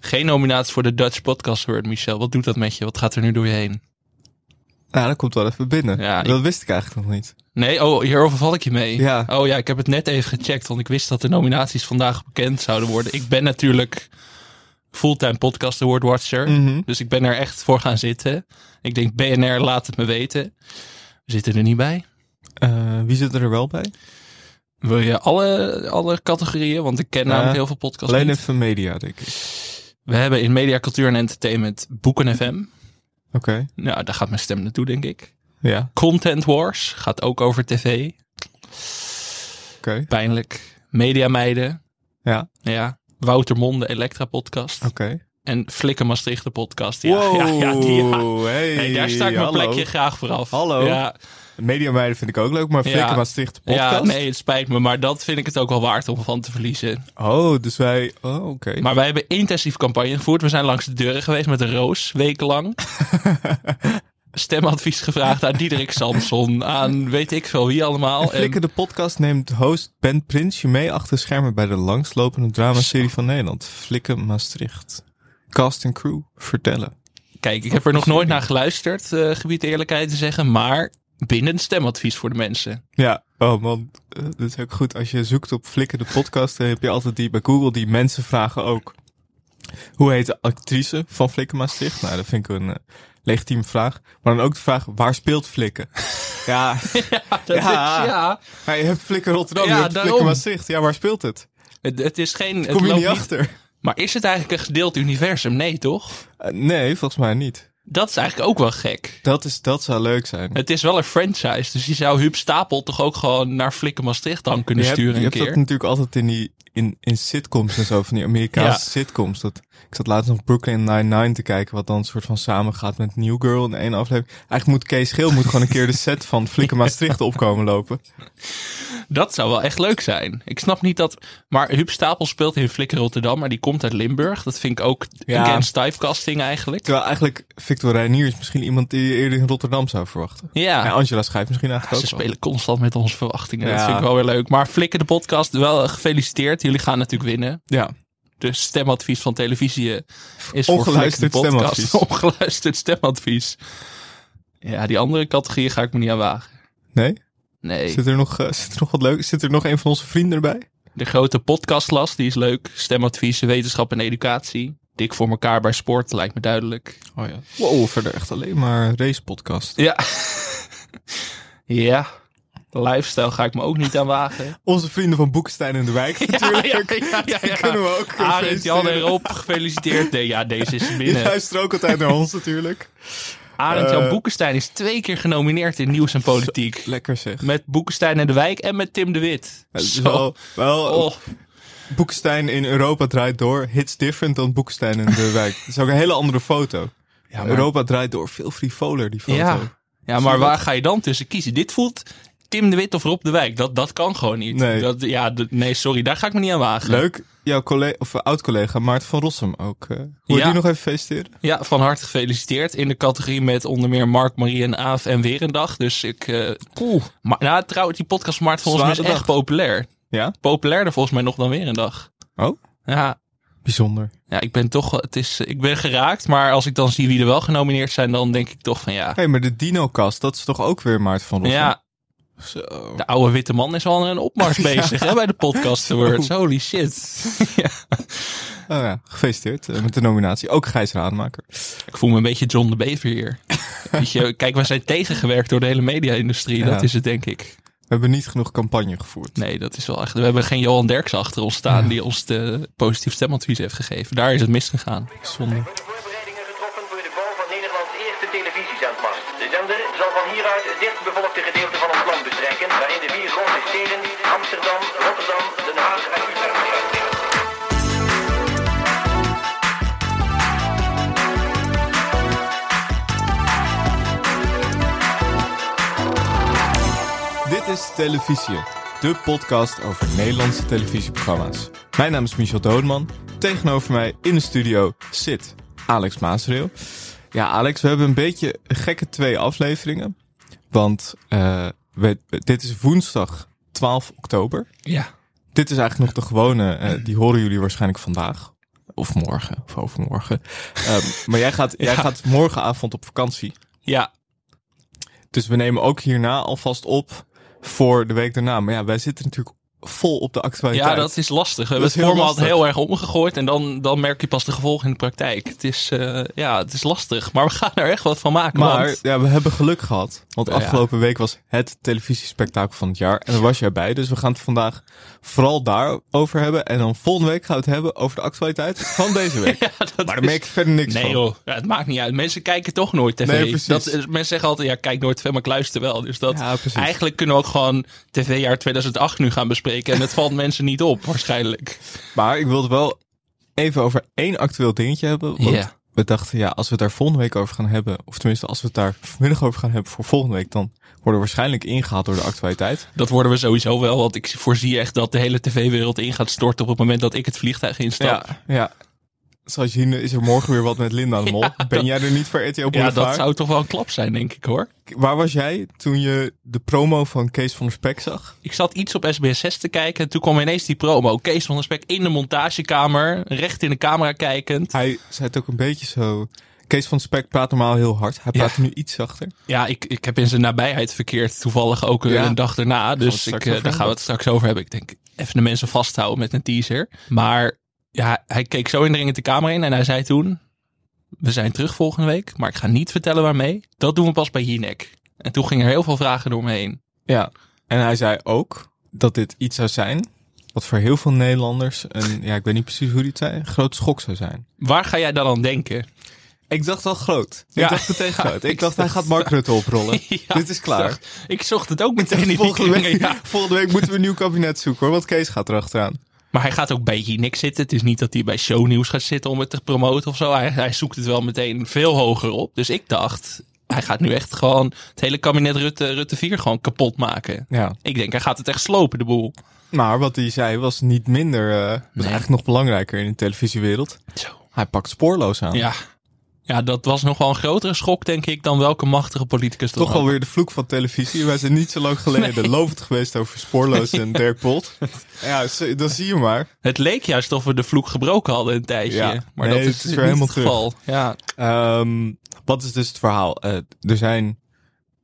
Geen nominatie voor de Dutch Podcast Award, Michel. Wat doet dat met je? Wat gaat er nu door je heen? Nou, dat komt wel even binnen. Ja, ik- dat wist ik eigenlijk nog niet. Nee, oh, hierover val ik je mee. Ja. Oh ja, ik heb het net even gecheckt, want ik wist dat de nominaties vandaag bekend zouden worden. Ik ben natuurlijk fulltime podcast award watcher, Mhm. dus ik ben er echt voor gaan zitten. Ik denk, BNR laat het me weten. We zitten er niet bij. Eh, wie zit er wel bij? Wil je alle, alle categorieën? Want ik ken Ja, namelijk heel veel podcasts Alleen niet. even media, denk ik. We hebben in media, cultuur en entertainment Boeken FM. Oké. Nou, daar gaat mijn stem naartoe, denk ik. Ja, Content Wars gaat ook over tv. oké. Pijnlijk. Media Meiden. Ja, Ja. Wouter Monde, Elektra podcast. oké. En Flikken Maastricht de podcast. Ja, ja, ja, die, ja. hey, Nee, daar sta ik mijn hallo. plekje graag voor af. Hallo. Ja, Media meiden vind ik ook leuk, maar Ja. Flikker Maastricht podcast. ja, nee, het spijt me, maar dat vind ik het ook wel waard om van te verliezen. Oh, dus wij... Oh, oké. Maar wij hebben intensief campagne gevoerd. We zijn langs de deuren geweest met een roos, wekenlang. Stemadvies gevraagd aan Diederik Samson, aan weet ik veel wie allemaal. En En- Flikker de podcast neemt host Ben Prinsje mee achter schermen bij de langslopende dramaserie van Nederland. Flikker Maastricht. Cast en crew, vertellen. Kijk, ik heb er nog nooit naar geluisterd, eh, gebied de eerlijkheid te zeggen, maar bindend stemadvies voor de mensen. Ja, oh man, eh, dat is ook goed. Als je zoekt op Flikker de podcast, dan heb je altijd die bij Google die mensen vragen ook. Hoe heet de actrice van Flikker Maastricht? Nou, dat vind ik een eh, legitieme vraag. Maar dan ook de vraag, waar speelt Flikker? ja, Dat Ja. Is, ja. maar je hebt Flikker Rotterdam, Ja, je hebt daarom. Flikker Maastricht. Ja, waar speelt het? Het, het is geen... het Kom je loopt niet achter? Maar is het eigenlijk een gedeeld universum? Nee, toch? Eh, nee, volgens mij niet. Dat is eigenlijk ook wel gek. Dat, is, dat zou leuk zijn. Het is wel een franchise, dus je zou Huub Stapel toch ook gewoon naar Flikken Maastricht dan kunnen je sturen hebt, je een hebt keer. dat natuurlijk altijd in die in, in sitcoms en zo, van die Amerikaanse Ja. sitcoms. Dat, ik zat laatst nog Brooklyn Nine-Nine te kijken, wat dan een soort van samengaat met New Girl in één aflevering. Eigenlijk moet Kees Geel moet gewoon een keer de set van Flikken Maastricht opkomen lopen. Dat zou wel echt leuk zijn. Ik snap niet dat... Maar Huub Stapel speelt in Flikken Rotterdam, maar die komt uit Limburg. Dat vind ik ook Ja. against typecasting eigenlijk. Terwijl eigenlijk Victor Reinier is misschien iemand die je eerder in Rotterdam zou verwachten. Ja. En Angela schrijft misschien eigenlijk Ze ook wel. spelen constant met onze verwachtingen. Dat Ja. vind ik wel weer leuk. Maar Flikken de podcast, wel eh, gefeliciteerd. Jullie gaan natuurlijk winnen. Ja, Dus stemadvies van televisie eh, is Ongeluisterd voor Flikker de podcast. stemadvies. Ongeluisterd stemadvies. Ja, die andere categorieën ga ik me niet aan wagen. nee? Nee. Zit er, nog, eh, zit er nog wat leuk? Zit er nog een van onze vrienden erbij? De grote podcastlast, die is leuk. Stemadvies, wetenschap en educatie. Dik voor elkaar bij sport, lijkt me duidelijk. Oh ja. Wow, verder echt alleen maar race podcast. Ja. ja. Lifestyle ga ik me ook niet aan wagen. Onze vrienden van Boekestein in de Wijk natuurlijk. ja, ja, ja, ja. Kunnen we ook Arend, Jan en feliciteren. Rob, gefeliciteerd. Nee, ja, deze is Je binnen. luistert ook altijd naar ons natuurlijk. Arend Jan Eh. Boekenstein is twee keer genomineerd in nieuws en politiek. Lekker zeg. Met Boekenstein en de Wijk en met Tim de Wit. Zo. Zo. Wel, wel Oh, Boekestein in Europa draait door. Hits different dan Boekestein in de wijk. Dat is ook een hele andere foto. maar- Europa draait door. Veel frivoler die foto. ja. ja, maar waar ga je dan tussen kiezen? Dit voelt Tim de Wit of Rob de Wijk. Dat, dat kan gewoon niet. Nee. Dat, ja, d- nee, sorry, daar ga ik me niet aan wagen. Leuk. Jouw collega, of eh, oud-collega Maarten van Rossum ook. eh. Wil je Ja. die nog even feliciteren? Ja, van harte gefeliciteerd. In de categorie met onder meer Mark, Marie en Aaf en weer een dag. Dus ik... eh cool. Maar, nou, trouwens, die podcast van Maart volgens mij is Zware echt populair. Ja? Populairder volgens mij nog dan weer een dag. Oh, Ja, bijzonder. Ja, ik ben toch, wel- het is, ik ben geraakt, maar als ik dan zie wie er wel genomineerd zijn, dan denk ik toch van ja. Hé, maar de Dino-kast, dat is toch ook weer Maarten van Rossum? Ja, Zo. de oude witte man is al een opmars bezig hè, bij de podcast Awards. Holy shit. ja. Oh ja, gefeliciteerd eh, met de nominatie. Ook Gijs Raadmaker. Ik voel me een beetje John de Bever hier. Weet je, kijk, wij zijn tegengewerkt door de hele media-industrie. Dat Ja. is het, denk ik. We hebben niet genoeg campagne gevoerd. Nee, dat is wel echt. We hebben geen Johan Derks achter ons staan die ons de positief stemadvies heeft gegeven. Daar is het misgegaan. Zonde. worden voorbereidingen getroffen voor de bouw van Nederlands eerste televisiezendmast. De zender zal van hieruit het dichtbevolkte gedeelte van ons land betrekken, waarin de vier grote steden Amsterdam, Rotterdam, Den Haag en Utrecht liggen. Dit is Televisie, de podcast over Nederlandse televisieprogramma's. Mijn naam is Michel Doodman. Tegenover mij in de studio zit Alex Maasreel. Ja, Alex, we hebben een beetje gekke twee afleveringen. Want eh, we, dit is woensdag 12 oktober. Ja. Dit is eigenlijk nog de gewone, eh, die horen jullie waarschijnlijk vandaag. Of morgen, of overmorgen. Ehm, maar jij gaat, jij gaat morgenavond op vakantie. Ja, Dus we nemen ook hierna alvast op voor de week daarna. Maar ja, wij zitten natuurlijk vol op de actualiteit. ja, dat is lastig. We hebben het Dat is heel format lastig. heel erg omgegooid en dan, dan merk je pas de gevolgen in de praktijk. Het is, eh, ja, het is lastig, maar we gaan er echt wat van maken. Maar want- ja, we hebben geluk gehad. Want Ja. afgelopen week was het televisiespektakel van het jaar. En daar was jij bij. Dus we gaan het vandaag vooral daarover hebben. En dan volgende week gaan we het hebben over de actualiteit van deze week. Ja, dat maar daar is- merk ik verder niks Nee van. joh, ja, het maakt niet uit. Mensen kijken toch nooit tv. Nee, precies. dat, is- mensen zeggen altijd, ja, kijk nooit tv, maar ik luister wel. Dus dat, Ja, precies. eigenlijk kunnen we ook gewoon tv-jaar 2008 nu gaan bespreken. En het valt mensen niet op, waarschijnlijk. Maar ik wilde wel even over één actueel dingetje hebben. Want Ja. we dachten, ja, als we het daar volgende week over gaan hebben. Of tenminste, als we het daar vanmiddag over gaan hebben voor volgende week. Dan worden we waarschijnlijk ingehaald door de actualiteit. Dat worden we sowieso wel, want ik voorzie echt dat de hele tv-wereld in gaat storten op het moment dat ik het vliegtuig instap. Ja, ja. Zoals je ziet is er morgen weer wat met Linda de Mol. ben jij er niet voor RTO Ja, Boulevard? dat zou toch wel een klap zijn, denk ik hoor. Waar was jij toen je de promo van Kees van der Spek zag? Ik zat iets op SBS6 te kijken en toen kwam ineens die promo. Kees van der Spek in de montagekamer, recht in de camera kijkend. Hij zei het ook een beetje zo... Kees van der Spek praat normaal heel hard. Hij praat Ja. nu iets zachter. Ja, ik, ik heb in zijn nabijheid verkeerd. Toevallig ook eh, Ja. een dag daarna. het Dus straks ik, eh, over daar gaan we hebben. het straks over hebben. Ik denk, even de mensen vasthouden met een teaser. Maar ja, hij keek zo indringend de camera in en hij zei toen... We zijn terug volgende week, maar ik ga niet vertellen waarmee. Dat doen we pas bij Jinek. En toen gingen er heel veel vragen door me heen. Ja. En hij zei ook dat dit iets zou zijn... wat voor heel veel Nederlanders... een, ja, ik weet niet precies hoe die het zei... een groot schok zou zijn. Waar ga jij dan aan denken? Ik dacht al groot. Ja. Ik dacht meteen groot. Ik Ik dacht, hij gaat Mark Rutte oprollen. Ja, dit is klaar. Ik zocht het ook meteen in die Volgende dingen, week, ja. volgende week moeten we een nieuw kabinet zoeken hoor. Want Kees gaat erachteraan. Maar hij gaat ook bij Jinek zitten. Het is niet dat hij bij shownieuws gaat zitten om het te promoten of zo. Hij, hij zoekt het wel meteen veel hoger op. Dus ik dacht, hij gaat nu echt gewoon het hele kabinet Rutte, Rutte 4 gewoon kapot maken. Ja. Ik denk, hij gaat het echt slopen, de boel. Maar wat hij zei was niet minder... eh was Nee. eigenlijk nog belangrijker in de televisiewereld. Zo. Hij pakt spoorloos aan. Ja. Ja, dat was nog wel een grotere schok, denk ik, dan welke machtige politicus dan Toch ook. alweer de vloek van televisie. Wij zijn niet zo lang geleden lovend geweest over Spoorloos en Dirk Bolt. Ja, zo- dan zie je maar. Het leek juist of we de vloek gebroken hadden een tijdje. Ja. Maar Nee, dat het is, is weer niet helemaal het geval. Ja. Ehm, wat is dus het verhaal? Eh, er zijn...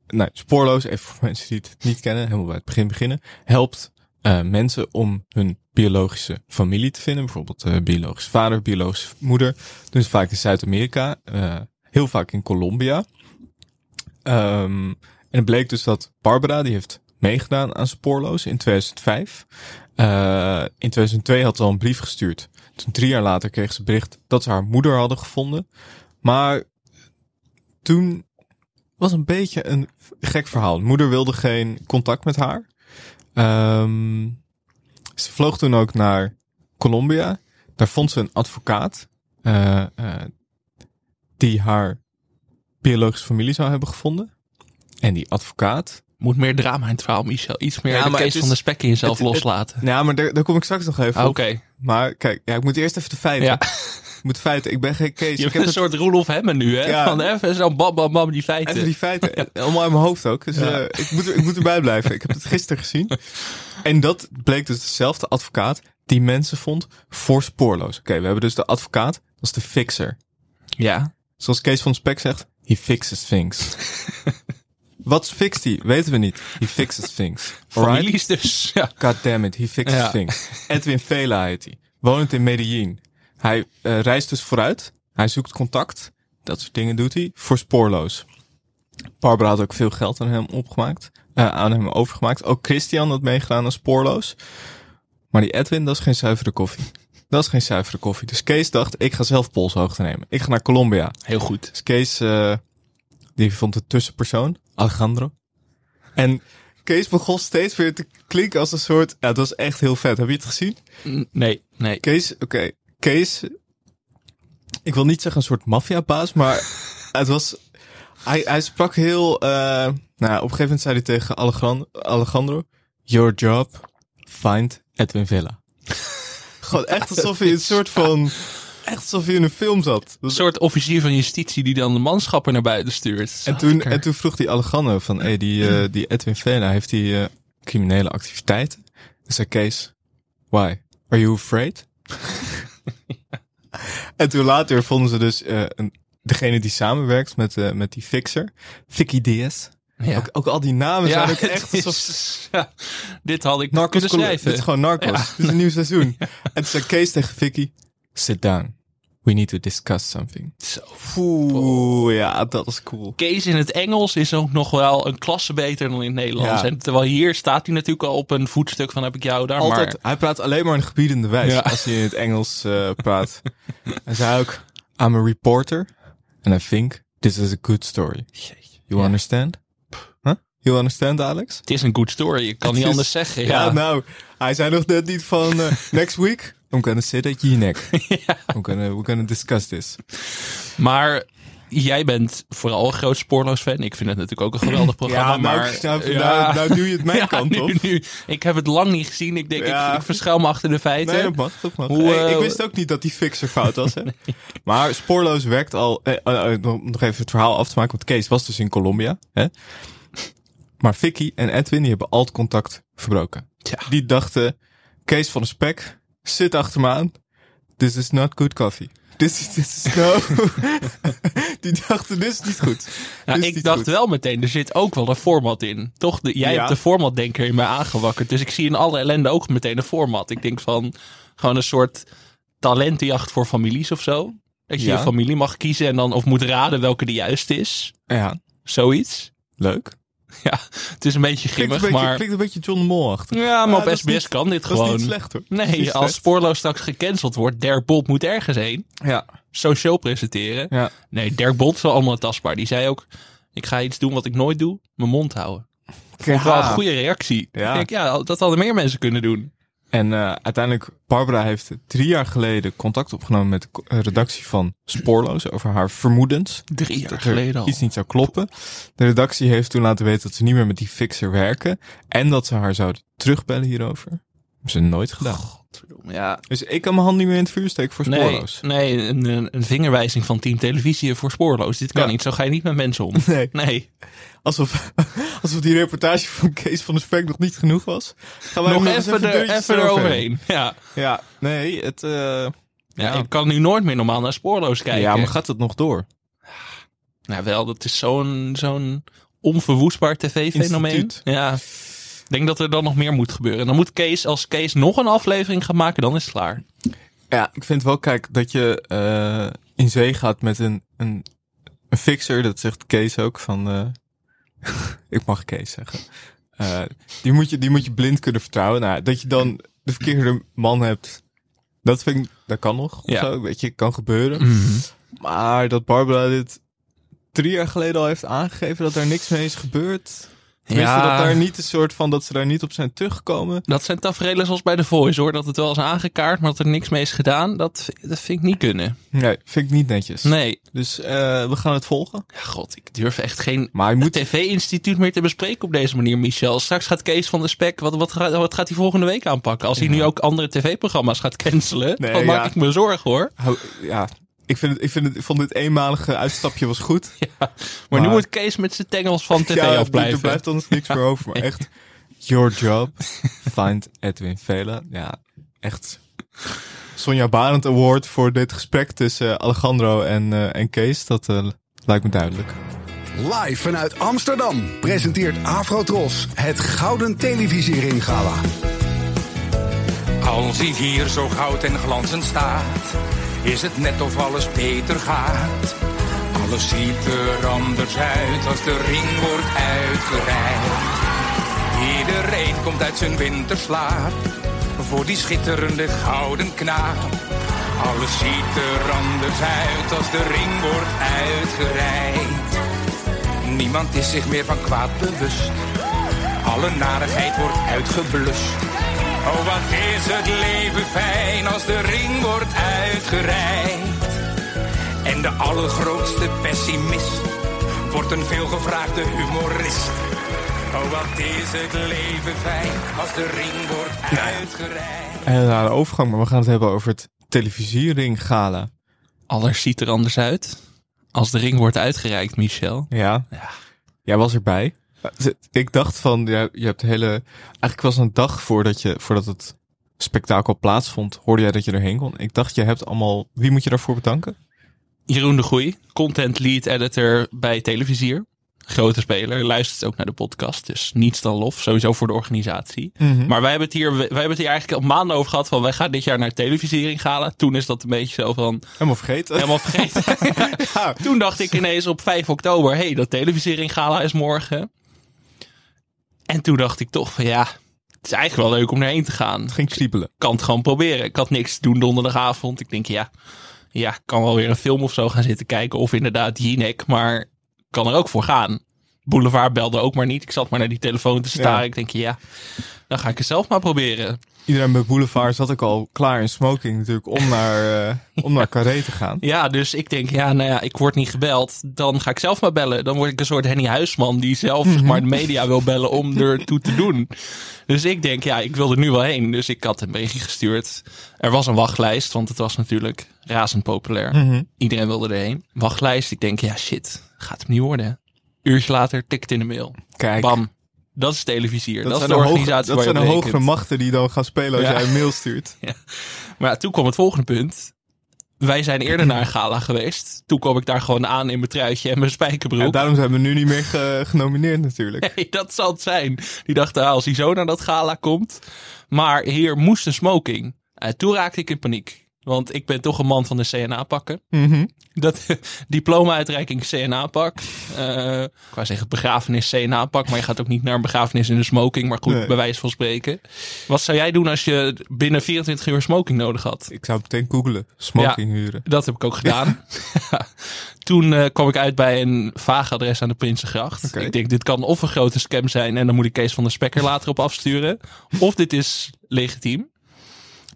Nou, Spoorloos, even voor mensen die het niet kennen, helemaal bij het begin beginnen. Helpt eh, mensen om hun biologische familie te vinden. Bijvoorbeeld eh, biologische vader, biologische moeder. Dus vaak in Zuid-Amerika. eh, heel vaak in Colombia. Ehm, en het bleek dus dat Barbara, die heeft meegedaan aan Spoorloos in 2005. Eh, in 2002 had ze al een brief gestuurd. Toen drie jaar later kreeg ze bericht dat ze haar moeder hadden gevonden. Maar toen was een beetje een gek verhaal. De moeder wilde geen contact met haar. Ehm, ze vloog toen ook naar Colombia. Daar vond ze een advocaat eh, eh, die haar biologische familie zou hebben gevonden. En die advocaat Moet meer drama in het verhaal, Michel. Iets meer Ja, de maar Kees het is- van de spek in jezelf het- het- loslaten. Nou, maar daar, daar kom ik straks nog even Ah, Oké. op. Maar kijk, ja, ik moet eerst even de feiten. Ja. Ik moet feiten. Ik ben geen Kees. Je Ik bent heb een het, soort Roelof Hemmen nu, hè? Ja. Van even zo bam, bam, bam, die feiten. even die feiten. En Allemaal uit mijn hoofd ook. Dus eh, Ja. eh, ik, moet, er- ik moet erbij blijven. Ik heb het gisteren gezien. En dat bleek dus dezelfde advocaat die mensen vond voor spoorloos. Oké, we hebben dus de advocaat. Dat is de fixer. Ja. Zoals Kees van Spek zegt, he fixes things. Wat fixt hij? Weten we niet. He fixes things. Alright? Families dus. Ja. God damn it, he fixes Ja. things. Edwin Vela heet hij. Wonend in Medellin. Hij eh, reist dus vooruit. Hij zoekt contact. Dat soort dingen doet hij. Voor spoorloos. Barbara had ook veel geld aan hem opgemaakt. eh, aan hem overgemaakt. Ook Christian had meegedaan aan spoorloos. Maar die Edwin, dat is geen zuivere koffie. Dat is geen zuivere koffie. Dus Kees dacht, ik ga zelf polshoogte nemen. Ik ga naar Colombia. Heel goed. Dus Kees, eh, die vond de tussenpersoon, Alejandro. En Kees begon steeds weer te klinken als een soort... Ja, dat was echt heel vet. Heb je het gezien? Nee, nee. Kees, oké. Kees, ik wil niet zeggen een soort maffiabaas, maar het was... Hij, hij sprak heel... eh, nou, op een gegeven moment zei hij tegen Alejandro... Alejandro Your job, find Edwin Villa. Gewoon echt alsof hij een soort van... Echt alsof hij in een film zat. Dat was Een soort officier van justitie die dan de manschappen naar buiten stuurt. En toen, en toen vroeg die Alejandro van, hey, die, eh, die Edwin Vela, heeft die eh, criminele Dus activiteiten? En zei Kees, why? Are you afraid? En toen later vonden ze dus eh, een, degene die samenwerkt met, eh, met die fixer, Vicky Diaz. Ja. Ook, ook al die namen zijn ook echt het alsof is- ja, dit had ik Narcos kunnen schrijven. Dit is gewoon Narcos. Ja. Dit is een nieuw seizoen. En toen zei Kees tegen Vicky, sit down. We need to discuss something. Oeh, ja, dat is cool. Kees in het Engels is ook nog wel een klasse beter dan in het Nederlands. Ja. En terwijl hier staat hij natuurlijk al op een voetstuk van heb ik jou daar. Altijd, Maar Hij praat alleen maar in gebiedende wijs Ja. als hij in het Engels eh, praat. Hij zei ook, I'm a reporter and I think this is a good story. You Ja. understand? Huh? You understand, Alex? het is een good story. Ik kan niet Het is- anders zeggen. Ja. Ja. nou, hij zei nog net niet van eh, next week. I'm gonna sit at your neck. I'm gonna, we're gonna discuss this. Maar jij bent vooral een groot spoorloos fan. Ik vind het natuurlijk ook een geweldig programma. Ja, nou, maar nou, Ja. nou, nou doe je het mijn Ja, kant nu- op. nu. ik heb het lang niet gezien. Ik denk, Ja. ik, ik verschuil me achter de feiten. Nee, dat mag, dat mag. Hoe, Hey, eh, ik wist ook niet dat die fixer fout was. Hè? Maar spoorloos werkt al... eh, eh, eh, om nog even het verhaal af te maken, want Kees was dus in Colombia. Hè? Maar Vicky en Edwin die hebben al het contact verbroken. Tja. Die dachten, Kees van de Spek zit achter me aan. This is not good coffee. This is, this is no... die dachten, dit is niet Ja, goed. Dit is Nou, ik niet dacht goed. wel meteen, er zit ook wel een format in. Toch? De- jij Ja. hebt de formatdenker in mij aangewakkerd. Dus ik zie in alle ellende ook meteen een format. Ik denk van gewoon een soort talentenjacht voor families of zo. Dat je Ja. je familie mag kiezen en dan of moet raden welke de juiste is. Ja, Zoiets. leuk. Ja, het is een beetje Klinkt grimmig, een, beetje, maar... klinkt een beetje John de Mol achter. Ja, maar Ah, dat op is SBS niet- kan dit Dat is gewoon. niet slecht hoor. Dat is Nee, niet als slecht. Spoorloos straks gecanceld wordt, Dirk Bolt moet ergens heen. Ja, Zo'n show presenteren. ja. Nee, Dirk Bolt is wel allemaal tastbaar. Die zei ook, ik ga iets doen wat ik nooit doe. Mijn mond houden. Ook wel een goede reactie. Ja. Ik denk, Ah. ja, dat hadden meer mensen kunnen doen. En eh, uiteindelijk, Barbara heeft drie jaar geleden contact opgenomen met de co- eh, redactie van Spoorloos over haar vermoedens. Drie jaar Dat er geleden al. iets niet zou kloppen. De redactie heeft toen laten weten dat ze niet meer met die fixer werken. En dat ze haar zouden terugbellen hierover. Hebben ze nooit gedaan. Ja. Dus ik kan mijn hand niet meer in het vuur steken voor Nee, Spoorloos. nee een, een- een vingerwijzing van Team Televisie voor spoorloos. Dit kan Ja. niet, zo ga je niet met mensen om. Nee. Nee, Alsof, alsof die reportage van Kees van der Spek nog niet genoeg was. Gaan wij nog nu eens even, er, deurtjes even eroverheen. Ja. Ja, nee, het... eh, Ja, Ik kan nu nooit meer normaal naar spoorloos kijken. ja, maar gaat het nog door? Nou wel, dat is zo'n zo'n onverwoestbaar tv-fenomeen. Instituut. Ja. Ik denk dat er dan nog meer moet gebeuren. Dan moet Kees, als Kees nog een aflevering gaat maken, dan is het klaar. Ja, ik vind wel, kijk, dat je eh, in zee gaat met een, een, een fixer. Dat zegt Kees ook van. eh, ik mag Kees zeggen. Eh, die, moet je, die moet je blind kunnen vertrouwen. Nou, dat je dan de verkeerde man hebt. Dat vind ik, dat kan nog. Ja. Ja. Mhm. Zo, weet je, kan gebeuren. Maar dat Barbara dit drie jaar geleden al heeft aangegeven dat daar niks mee is gebeurd. Tenminste, Ja. dat daar niet een soort van dat ze daar niet op zijn teruggekomen. Dat zijn tafereelen zoals bij The Voice hoor. Dat het wel is aangekaart, maar dat er niks mee is gedaan. Dat, dat vind ik niet kunnen. Nee, vind ik niet netjes. Nee. Dus eh, we gaan het volgen. Ja, god, ik durf echt geen Maar je moet tv-instituut meer te bespreken op deze manier, Michel. Straks gaat Kees van de Spek, wat, wat, gaat, wat gaat hij volgende week aanpakken? Als hij nu ook andere tv-programma's gaat cancelen, Nee, dan maak ja. ik me zorgen hoor. Hou- Ja, ik, vind het, ik, vind het, ik vond dit eenmalige uitstapje was goed. Maar, nu Maar- moet Kees met zijn tengels van tv ja, er afblijven. blijft ons niks meer over. Maar echt, your job, find Edwin Vela. Ja, echt. Sonja Barend Award voor dit gesprek tussen eh, Alejandro en, eh, en Kees. Dat eh, lijkt me duidelijk. Live vanuit Amsterdam presenteert Afrotros het Gouden Televisieringgala. Als hij hier zo goud en glanzend staat, is het net of alles beter gaat. Alles ziet er anders uit als de ring wordt uitgereikt. Iedereen komt uit zijn winterslaap voor die schitterende gouden knaap. Alles ziet er anders uit als de ring wordt uitgereikt. Niemand is zich meer van kwaad bewust. Alle narigheid wordt uitgeblust. Oh, wat is het leven fijn als de ring wordt uitgereikt. En de allergrootste pessimist wordt een veelgevraagde humorist. Oh, wat is het leven fijn als de ring wordt uitgereikt. En naar de overgang, maar we gaan het hebben over het televisiering gala. Alles ziet er anders uit als de ring wordt uitgereikt, Michel. Ja. Jij was erbij. Eh, Ik dacht van, ja, je hebt hele... Eigenlijk was het een dag voordat, je, voordat het spektakel plaatsvond, hoorde jij dat je erheen kon. Ik dacht, je hebt allemaal... Wie moet je daarvoor bedanken? Jeroen de Groei, content lead editor bij Televisier. Grote speler, luistert ook naar de podcast. Dus niets dan lof, sowieso voor de organisatie. Maar wij hebben, het hier, wij hebben het hier eigenlijk al maanden over gehad. Van wij gaan dit jaar naar televisiering halen. Toen is dat een beetje zo van Helemaal vergeten. helemaal vergeten. Ja. Toen dacht ik ineens op 5 oktober, hé, hey, dat televisiering gala is morgen. En toen dacht ik toch van ja, het is eigenlijk wel leuk om daarheen te gaan. Ging kriebelen. Ik kan het gewoon proberen. Ik had niks te doen donderdagavond. Ik denk ja, ja, ik kan wel weer een film of zo gaan zitten kijken. Of inderdaad Jinek, maar ik kan er ook voor gaan. Boulevard belde ook maar niet. Ik zat maar naar die telefoon te staren. Ja. Ik denk ja, dan ga ik het zelf maar proberen. Iedereen bij Boulevard zat ook al klaar in smoking natuurlijk om naar, eh om naar Carré te gaan. Ja, dus ik denk, ja, nou ja, ik word niet gebeld. Dan ga ik zelf maar bellen. Dan word ik een soort Henny Huisman die zelf zeg maar, de media wil bellen om ertoe te doen. Dus ik denk, ja, ik wil er nu wel heen. Dus ik had een berichtje gestuurd. Er was een wachtlijst, want het was natuurlijk razend populair. Iedereen wilde erheen. Wachtlijst, ik denk, ja, shit, gaat hem niet worden. Uurtje later, tikt in de mail. Kijk. Bam. Dat is televisier. Dat, is zijn de hoge- organisatie dat waar je zijn de op hogere rekent. machten die dan gaan spelen als Ja. jij een mail stuurt. Maar ja, toen kwam het volgende punt. Wij zijn eerder naar een gala geweest. Toen kwam ik daar gewoon aan in mijn truitje en mijn En spijkerbroek. daarom zijn we nu niet meer ge- genomineerd natuurlijk. Nee, dat zal het zijn. Die dacht, ah, als hij zo naar dat gala komt. Maar hier moest een smoking. En toen raakte ik in paniek. Want ik ben toch een man van de CNA-pakken. Mhm. Dat diploma-uitreiking CNA-pak. Eh ik wou zeggen begrafenis CNA-pak. Maar je gaat ook niet naar een begrafenis in een smoking. Maar goed, Nee. bij wijze van spreken. Wat zou jij doen als je binnen 24 uur smoking nodig had? Ik zou meteen googlen. Smoking huren. Dat heb ik ook gedaan. Toen eh, kwam ik uit bij een vaag adres aan de Prinsengracht. Oké. Ik denk, dit kan of een grote scam zijn en dan moet ik Kees van der Spekker later op afsturen. Of dit is legitiem.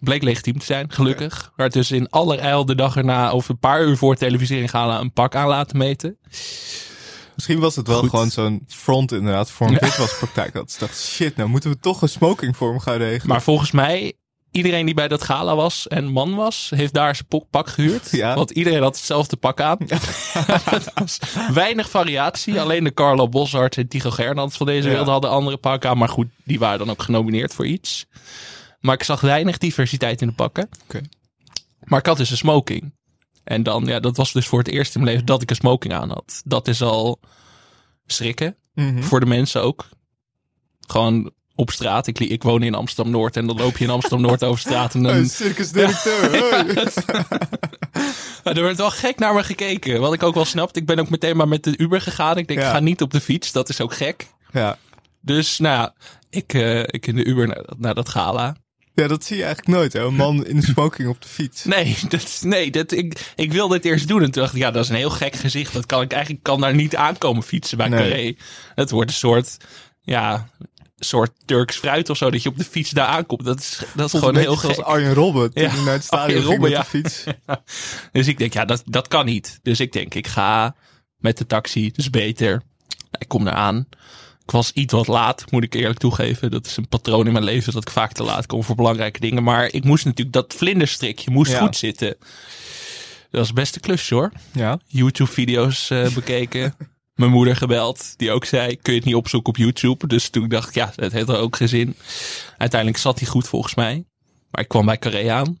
Bleek legitiem te zijn, gelukkig. Maar dus in allerijl de dag erna of een paar uur voor televisiering gaan een pak aan laten meten. Misschien was het wel Goed. gewoon zo'n front inderdaad voor een witwaspraktijk. Dat ze dacht, shit, nou moeten we toch een smokingvorm gaan regelen. Maar volgens mij, iedereen die bij dat gala was en man was, heeft daar zijn pok- pak gehuurd. Ja. Want iedereen had hetzelfde pak aan. Dat was weinig variatie. Alleen de Carlo Boshart en Tigo Gernand van deze Ja. wereld hadden andere pakken aan. Maar goed, die waren dan ook genomineerd voor iets. Maar ik zag weinig diversiteit in de pakken. Oké. Maar ik had dus een smoking. En dan, ja, dat was dus voor het eerst in mijn leven dat ik een smoking aan had. Dat is al schrikken. Mhm. Voor de mensen ook. Gewoon op straat. Ik, li- ik woon in Amsterdam-Noord en dan loop je in Amsterdam-Noord over straat. En dan, Hey, circusdirecteur. hey. Maar er werd wel gek naar me gekeken. Wat ik ook wel snapte. Ik ben ook meteen maar met de Uber gegaan. Ik denk, Ja. ik ga niet op de fiets. Dat is ook gek. Ja. Dus nou ja, ik, eh, ik in de Uber naar, dat- naar dat gala. ja, dat zie je eigenlijk nooit. Hè? Een man in een smoking op de fiets. Nee, dat, is- nee dat, ik, ik wilde het eerst doen. En toen dacht ik, ja, dat is een heel gek gezicht. Dat kan ik eigenlijk kan daar niet aankomen fietsen bij Nee. Carré. Het wordt een soort, ja, soort Turks fruit of zo. Dat je op de fiets daar aankomt. Dat is, dat is Voelt gewoon een heel beetje gek. zoals Arjen Robben toen Ja, hij naar het stadion Arjen ging Robben, met ja. de fiets. Dus ik denk, ja, dat, dat kan niet. Dus ik denk, ik ga met de taxi, dus beter. Nou, Ik kom eraan. Ik was iets wat laat, moet ik eerlijk toegeven. Dat is een patroon in mijn leven dat ik vaak te laat kom voor belangrijke dingen. Maar ik moest natuurlijk dat vlinderstrikje moest Ja. goed zitten. Dat was best een klusje hoor. Ja. YouTube-video's eh, bekeken. Mijn moeder gebeld, die ook zei: Kun je het niet opzoeken op YouTube? Dus toen dacht ik, ja, het heeft er ook geen zin. Uiteindelijk zat hij goed volgens mij. Maar ik kwam bij Carré aan.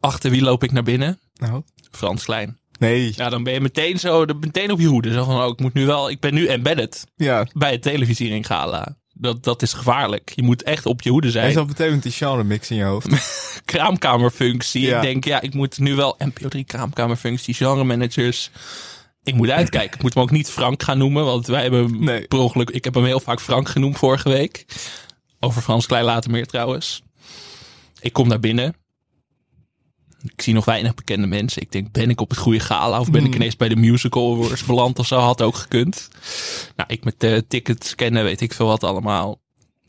Achter wie loop ik naar binnen? Nou. Frans Klein. Nee. Ja, dan ben je meteen zo, dan meteen op je hoede. Zo van, oh, ik moet nu wel, ik ben nu embedded Ja. bij het televisiering gala. Dat, dat is gevaarlijk. Je moet echt op je hoede Hij zijn. zat meteen met die genre mix in je hoofd. kraamkamerfunctie. Ja. Ik denk, ja, ik moet nu wel NPO 3 kraamkamerfunctie, genre managers. Ik moet uitkijken. Ik moet hem ook niet Frank gaan noemen, want wij hebben hem Nee. per ongeluk... Ik heb hem heel vaak Frank genoemd vorige week. Over Frans Klein later meer trouwens. Ik kom naar binnen. Ik zie nog weinig bekende mensen. Ik denk, ben ik op het goede gala of ben ik ineens bij de musical awards beland of zo? Had ook gekund. Nou, ik met de tickets scannen, weet ik veel wat allemaal.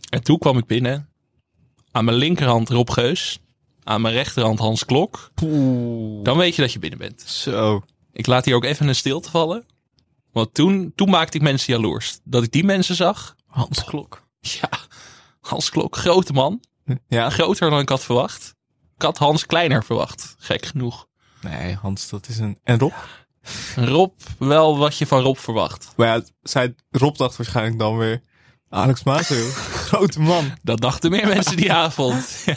En toen kwam ik binnen. Aan mijn linkerhand Rob Geus. Aan mijn rechterhand Hans Klok. Dan weet je dat je binnen bent. Zo. Ik laat hier ook even een stilte vallen. Want toen, toen maakte ik mensen jaloers. Dat ik die mensen zag. Hans Klok. Ja, Hans Klok, grote man. Ja. Groter dan ik had verwacht. Ik had Hans kleiner verwacht. Gek genoeg. Nee, Hans, dat is een... En Rob? Rob, wel wat je van Rob verwacht. Maar ja, zij, Rob dacht waarschijnlijk dan weer... Alex Maasreel, grote man. Dat dachten meer mensen die avond. ja.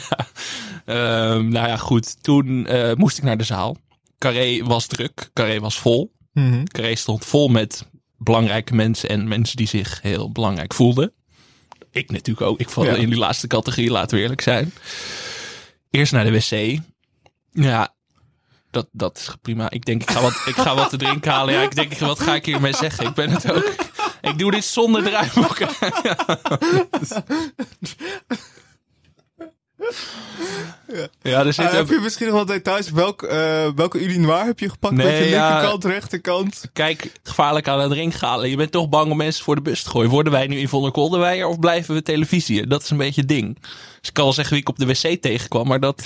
Ehm, nou ja, goed. Toen eh, moest ik naar de zaal. Carré was druk. Carré was vol. Mhm. Carré stond vol met belangrijke mensen en mensen die zich heel belangrijk voelden. Ik natuurlijk ook. Ik val Ja. in die laatste categorie, laten we eerlijk zijn. Eerst naar de wc. Ja, dat, dat is prima. Ik denk, ik ga, wat, ik ga wat te drinken halen. Ja, ik denk, wat ga ik hiermee zeggen? Ik ben het ook. Ik doe dit zonder draaiboeken. Ja, er Eh, zit heb ook... je misschien nog wat details? Welk, eh welke urinoir heb je gepakt? Nee, Met je ja. linkerkant, rechterkant? Kijk, gevaarlijk aan het ring Je bent toch bang om mensen voor de bus te gooien. Worden wij nu Yvonne Kolderweijer of blijven we televisie? Dat is een beetje het ding. Dus ik kan wel zeggen wie ik op de wc tegenkwam, maar dat,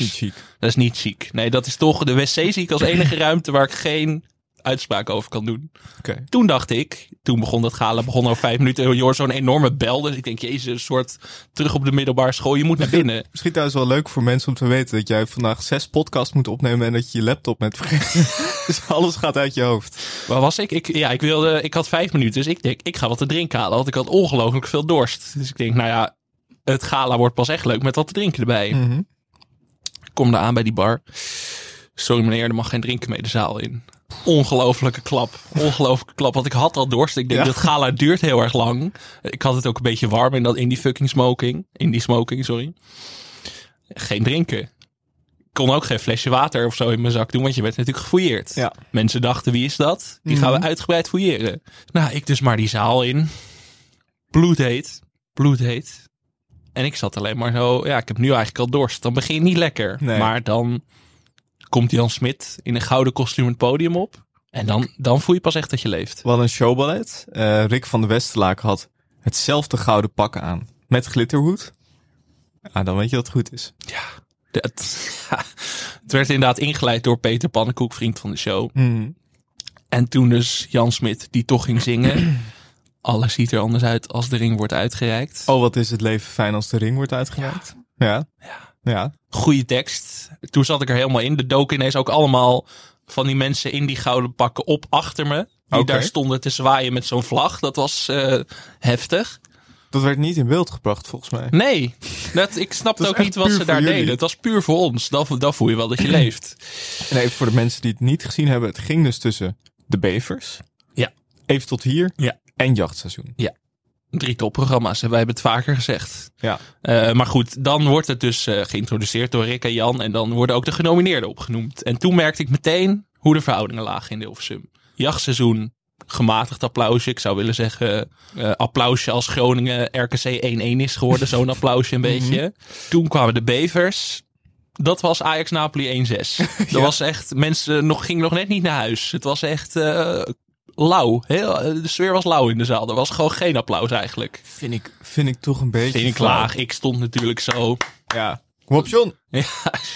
dat is niet ziek. Nee, dat is toch... De wc zie ik als enige ruimte waar ik geen uitspraak over kan doen. Oké. Toen dacht ik, toen begon dat galen, begon al vijf minuten. Je hoort zo'n enorme bel, dus ik denk, jezus, een soort terug op de middelbare school. Je moet naar binnen. Misschien trouwens wel leuk voor mensen om te weten dat jij vandaag zes podcasts moet opnemen en dat je je laptop bent vergeten. dus alles gaat uit je hoofd. Waar was ik? ik ja, ik, wilde, ik had vijf minuten, dus ik denk, ik ga wat te drinken halen. Want ik had ongelooflijk veel dorst. Dus ik denk, nou ja, het gala wordt pas echt leuk met wat te drinken erbij. Ik kom daar aan bij die bar. Sorry meneer, er mag geen drinken mee de zaal in. Ongelooflijke klap. Ongelooflijke klap. Want ik had al dorst. Ik denk, Ja. dat gala duurt heel erg lang. Ik had het ook een beetje warm in, dat, in die fucking smoking. In die smoking, sorry. Geen drinken kon ook geen flesje water of zo in mijn zak doen, want je werd natuurlijk gefouilleerd. Ja. Mhm. Mensen dachten, wie is dat? Die gaan we uitgebreid fouilleren. Nou, ik dus maar die zaal in. Bloedheet. Bloedheet. En ik zat alleen maar zo, ja, ik heb nu eigenlijk al dorst. Dan begin je niet lekker. Nee. Maar dan komt Jan Smit in een gouden kostuum het podium op. En dan, dan voel je pas echt dat je leeft. We hadden een showballet. Eh, Rick van de Westerlaak had hetzelfde gouden pak aan met glitterhoed. Ah, dan weet je dat het goed is. Ja. Dat, het werd inderdaad ingeleid door Peter Pannenkoek, vriend van de show. Hmm. En toen dus Jan Smit, die toch ging zingen. Alles ziet er anders uit als de ring wordt uitgereikt. Oh, wat is het leven fijn als de ring wordt uitgereikt? Ja. Ja. ja. Goede tekst. Toen zat ik er helemaal in. De doken ineens ook allemaal van die mensen in die gouden pakken op achter me. Die Oké. daar stonden te zwaaien met zo'n vlag. Dat was eh, heftig. Dat werd niet in beeld gebracht, volgens mij. Nee, dat, ik snapte Dat is ook echt niet wat puur ze daar voor jullie. deden. Het was puur voor ons. Dan, dan voel je wel dat je leeft. En even voor de mensen die het niet gezien hebben. Het ging dus tussen de bevers. Ja. Even tot hier. Ja. En jachtseizoen. Drie topprogramma's. En wij hebben het vaker gezegd. Ja. Eh, maar goed, dan wordt het dus eh, geïntroduceerd door Rick en Jan. En dan worden ook de genomineerden opgenoemd. En toen merkte ik meteen hoe de verhoudingen lagen in Hilversum. Jachtseizoen, gematigd applausje. Ik zou willen zeggen eh, applausje als Groningen RKC 1-1 is geworden. Zo'n applausje een beetje. Toen kwamen de bevers. Dat was Ajax Napoli 1-6. Dat was echt, mensen nog, gingen nog net niet naar huis. Het was echt eh, lauw. Heel, eh, de sfeer was lauw in de zaal. Er was gewoon geen applaus eigenlijk. Vind ik, vind ik toch een beetje... Vind ik flauw. laag. Ik stond natuurlijk zo. Ja. Kom op, John. Ja,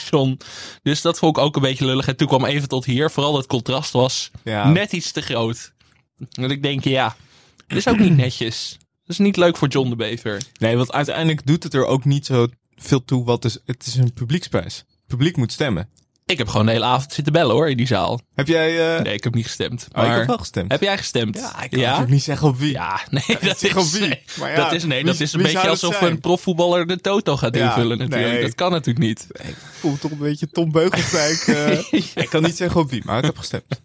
John. Dus dat vond ik ook een beetje lullig. En toen kwam even tot hier. Vooral dat contrast was Ja. net iets te groot. Dat ik denk, ja, dit is ook niet netjes. Dat is niet leuk voor John de Bever. Nee, want uiteindelijk doet het er ook niet zo veel toe. Wat is, het is een publieksprijs. Het publiek moet stemmen. Ik heb gewoon de hele avond zitten bellen hoor, in die zaal. Heb jij... eh, Nee, ik heb niet gestemd. Oh, ik maar- heb wel gestemd. Heb jij gestemd? Ja, ik kan natuurlijk niet zeggen op wie. Ja, nee, dat zeg op is, wie, nee, maar ja, dat is, nee, dat wie- is een wie beetje zou dat alsof zijn? een profvoetballer de toto gaat Ja, invullen natuurlijk. nee. Dat kan natuurlijk niet. voel toch een beetje Tom Beugelsdijk. eh. Ik kan niet zeggen op wie, maar ik heb gestemd.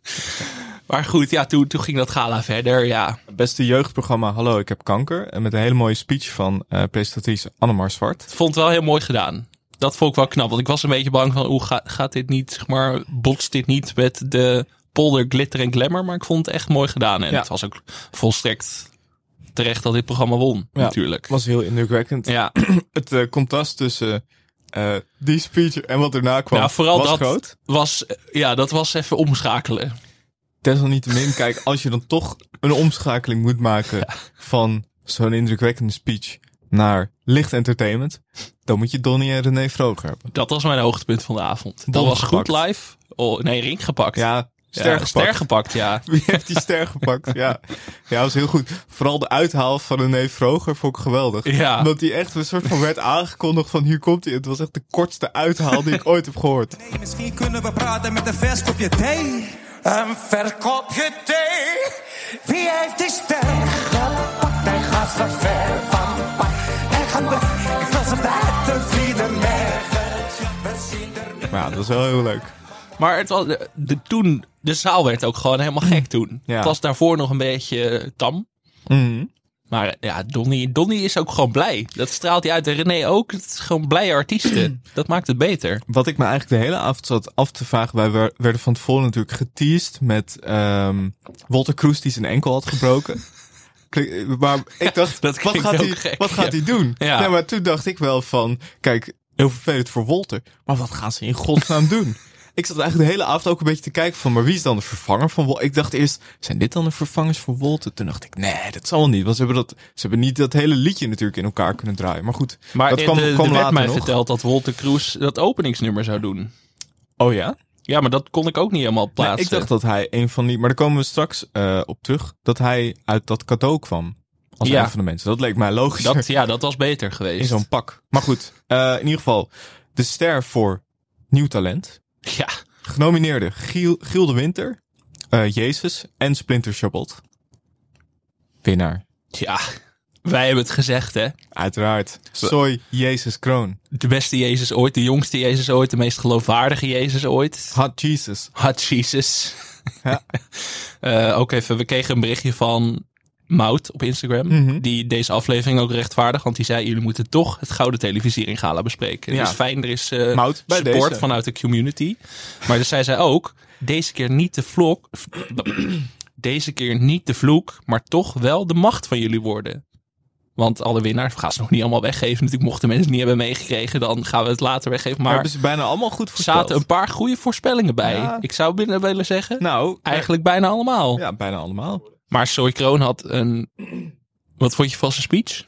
Maar goed, ja, toen, toen ging dat gala verder, ja. Beste jeugdprogramma Hallo, ik heb kanker. En met een hele mooie speech van eh presentatrice Annemar Zwart. vond het wel heel mooi gedaan. Dat vond ik wel knap. Want ik was een beetje bang van, hoe gaat dit niet, zeg maar, botst dit niet met de polder glitter en glamour. Maar ik vond het echt mooi gedaan. En Ja. het was ook volstrekt terecht dat dit programma won, natuurlijk. was heel indrukwekkend. Ja, Het eh, contrast tussen eh, die speech en wat erna kwam nou, vooral was dat groot. was, ja, dat was even omschakelen. Desalniettemin, kijk, als je dan toch een omschakeling moet maken van zo'n indrukwekkende speech naar licht entertainment, dan moet je Donnie en René Vroger hebben. Dat was mijn hoogtepunt van de avond. Dat Bol was gepakt. goed live. Oh, nee, ring gepakt. Ja, Ja, ster gepakt. ster gepakt, ja. Wie heeft die ster gepakt? Ja. ja, was heel goed. Vooral de uithaal van René Vroger vond ik geweldig. Ja. Omdat hij echt een soort van werd aangekondigd van hier komt hij. Het was echt de kortste uithaal die ik ooit heb gehoord. Hey, misschien kunnen we praten met een vers kopje thee. er Een vers kopje thee. Wie heeft die ster gepakt? en gaat wat ver van pad. er En gaan weg als een buitenvlieder nergens. We zien er niet. Maar ja, dat is wel heel leuk. Maar het was, de, de- toen, de zaal werd ook gewoon helemaal gek toen. Mm. Ja. Mm. Het was daarvoor nog een beetje eh, tam. Maar eh, ja, Donnie, Donnie is ook gewoon blij. Dat straalt hij uit. En René ook. Het is gewoon blije Mm. artiesten. dat maakt het beter. Wat ik me eigenlijk de hele avond zat af te vragen, wij wer- werden van tevoren natuurlijk geteased met ehm Walter Kroes die zijn enkel had gebroken. Klink- maar ik dacht, dat wat, klinkt gaat heel hij, gek, wat gaat ja. hij doen? Ja. Nee, maar toen dacht ik wel van, kijk, heel vervelend voor Walter, maar wat gaan ze in godsnaam doen? Ik zat eigenlijk de hele avond ook een beetje te kijken van, maar wie is dan de vervanger van Walter? Ik dacht eerst, zijn dit dan de vervangers voor Walter? Toen dacht ik, nee, dat zal wel niet, want ze hebben, dat, ze hebben niet dat hele liedje natuurlijk in elkaar kunnen draaien. Maar goed, Maar dat dat kwam, de, kwam er werd later mij nog. verteld dat Walter Cruz dat openingsnummer zou doen. Oh ja? Ja, maar dat kon ik ook niet helemaal plaatsen. Nee, ik dacht dat hij een van die. Maar daar komen we straks eh, op terug. Dat hij uit dat cadeau kwam. Als Ja. een van de mensen. Dat leek mij logisch. dat, ja, dat was beter in geweest. zo'n pak. Maar goed, eh, in ieder geval. De ster voor nieuw talent. Ja, Genomineerde Giel, Giel de Winter. eh, Jezus en Splinter Chabot. Winnaar. ja, wij hebben het gezegd hè. Uiteraard. Soy Jezus Kroon. De beste Jezus ooit, de jongste Jezus ooit, de meest geloofwaardige Jezus ooit. Hot Jesus. Hot Jesus. Ja. Eh, ook even, we kregen een berichtje van Mout op Instagram. Mhm. Die deze aflevering ook rechtvaardig, want die zei: Jullie moeten toch het Gouden Televisiering Gala bespreken. Ja. Dus fijn, er is eh, Mout, bij support deze. vanuit de community. Maar dus zij zei ook: Deze keer niet de vlog. Deze keer niet de vloek, maar toch wel de macht van jullie worden. Want alle winnaars we gaan ze nog niet allemaal weggeven. Natuurlijk, mochten mensen het niet hebben meegekregen, dan gaan we het later weggeven. Maar Hebben ze bijna allemaal goed er voorspeld. zaten een paar goede voorspellingen bij. Ja. Ik zou binnen willen zeggen, Nou, eh, eigenlijk bijna allemaal. Ja, bijna allemaal. Maar Soy Kroon had een... Wat vond je van zijn speech?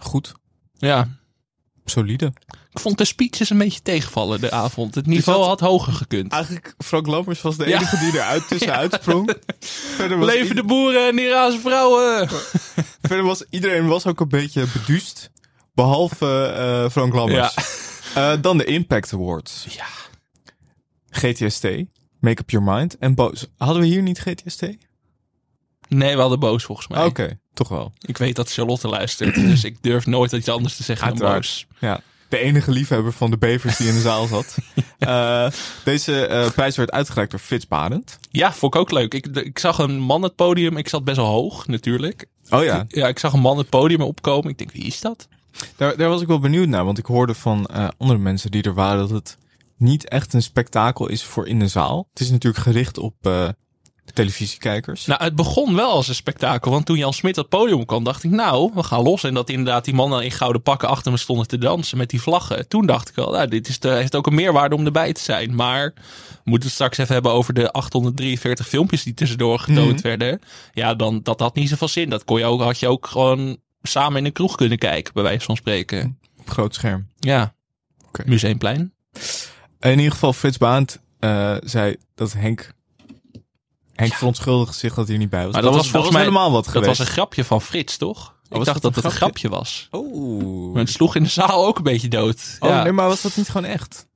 Goed. Ja, Solide. ik vond de speeches een beetje tegenvallen de avond. Het niveau zat- had hoger gekund. Eigenlijk, Frank Lammers was de Ja. enige die eruit tussenuit sprong. Verder was, Leven ied- de boeren en die razen vrouwen! verder was iedereen was ook een beetje beduust. Behalve eh, Frank Lammers. Eh, dan de Impact Awards. Ja. GTST, Make Up Your Mind en Boos. Hadden we hier niet GTST? Nee, we hadden boos volgens mij. Ah, Oké, toch wel. Ik weet dat Charlotte luistert, dus ik durf nooit iets anders te zeggen dan boos. Uiteraard. Ja. De enige liefhebber van de bevers die in de zaal zat. Eh, deze eh, prijs werd uitgereikt door Frits Barend. Ja, vond ik ook leuk. Ik, ik zag een man het podium. Ik zat best wel hoog, natuurlijk. Oh ja, Ja, ik zag een man het podium opkomen. Ik denk, wie is dat? Daar, daar was ik wel benieuwd naar, want ik hoorde van eh, andere mensen die er waren dat het niet echt een spektakel is voor in de zaal. Het is natuurlijk gericht op eh, televisiekijkers. Nou, het begon wel als een spektakel. Want toen Jan Smit dat podium kwam, dacht ik, nou, we gaan los. En dat inderdaad die mannen in gouden pakken achter me stonden te dansen met die vlaggen. Toen dacht ik al, nou, dit is de, heeft ook een meerwaarde om erbij te zijn. Maar we moeten het straks even hebben over de 843 filmpjes die tussendoor getoond Mhm. werden. Ja, dan, dat had niet zoveel zin. Dat kon je ook, had je ook gewoon samen in een kroeg kunnen kijken, bij wijze van spreken. op groot scherm. Ja, Mhm. Oké. Museumplein. In ieder geval, Frits Baand eh, zei dat Henk. Henk verontschuldigde zich dat hij er niet bij was. Maar dat, dat was was- dat volgens was mij helemaal wat Dat geweest. Oh, was een grapje van Frits, toch? ik was dacht dat dat het een een grapje was. Oeh. Maar het sloeg in de zaal ook een beetje dood. Oh, Ja. nee, maar was dat niet gewoon echt?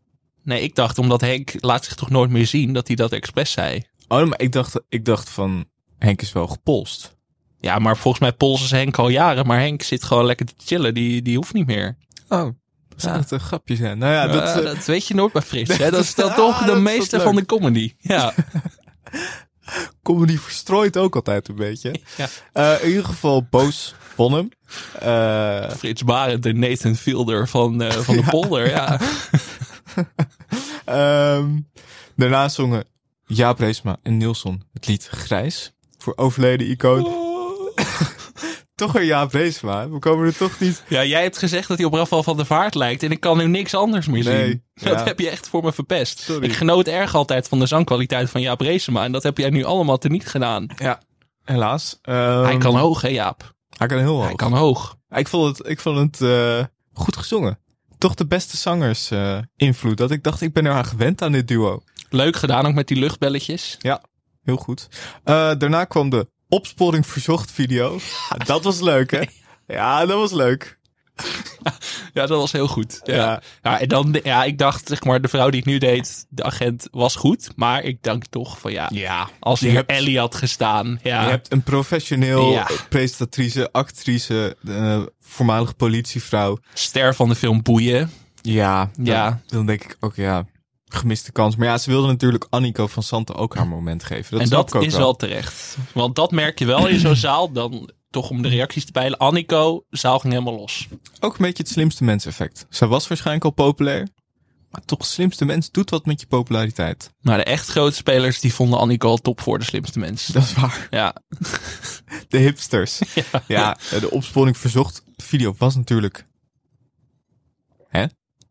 Nee, ik dacht omdat Henk laat zich toch nooit meer zien dat hij dat expres zei. Oh, nee, maar ik dacht, ik dacht van Henk is wel gepolst. Ja, maar volgens mij polsen ze Henk al jaren, maar Henk zit gewoon lekker te chillen. Die, die hoeft niet meer. Oh, zou Ja. dat een grapje zijn? Nou ja, dat, Eh, eh, dat weet je nooit bij Frits. hè? Dat is dan Ah, toch de dat is meeste leuk. van de comedy. Ja. comedy verstrooit ook altijd een beetje. Eh, in ieder geval, Boos won hem. Eh, Frits Barend, de Nathan Fielder van, eh, van de polder. Ja. ehm, daarna zongen Jaap Reesma en Nilsson het lied Grijs. Voor overleden icoon. toch weer Jaap Reesma. hè? We komen er toch niet... ja, jij hebt gezegd dat hij op Rafael van der Vaart lijkt en ik kan nu niks anders meer Nee, zien. Dat ja. heb je echt voor me verpest. Sorry. Ik genoot erg altijd van de zangkwaliteit van Jaap Reesema en dat heb jij nu allemaal teniet gedaan. Ja, helaas. Ehm, hij kan hoog, hè Jaap? hij kan heel hoog. Hij kan hoog. Ik vond het, ik vond het eh, goed gezongen. Toch de beste zangers eh, invloed. Dat ik dacht, ik ben eraan gewend aan dit duo. Leuk gedaan ook met die luchtbelletjes. Ja, heel goed. Eh, daarna kwam de opsporing verzocht video. Dat was leuk, hè? Ja, dat was leuk. Ja, dat was heel goed. Ja. Ja. Ja. en dan, ja, ik dacht, zeg maar, de vrouw die het nu deed, de agent, was goed. Maar ik denk toch van ja, Ja, als je hier hebt- Ellie had gestaan. Ja, Je hebt een professioneel Ja. presentatrice, actrice, eh voormalig politievrouw. ster van de film Boeien. Ja, Ja. Dan, dan denk ik ook, ja, gemiste kans. Maar ja, ze wilde natuurlijk Annico van Santen ook haar moment geven. Dat en snap ik dat ook is wel. wel terecht. Want dat merk je wel in zo'n zaal. Dan toch om de reacties te peilen. Annico, zaal ging helemaal los. Ook een beetje het slimste mens effect. Zij was waarschijnlijk al populair. Maar toch, slimste mens doet wat met je populariteit. Maar de echt grote spelers, die vonden Annico al top voor de slimste mensen. Dat is waar. Ja, De hipsters. ja. eh, de opsporing verzocht video was natuurlijk... Hè?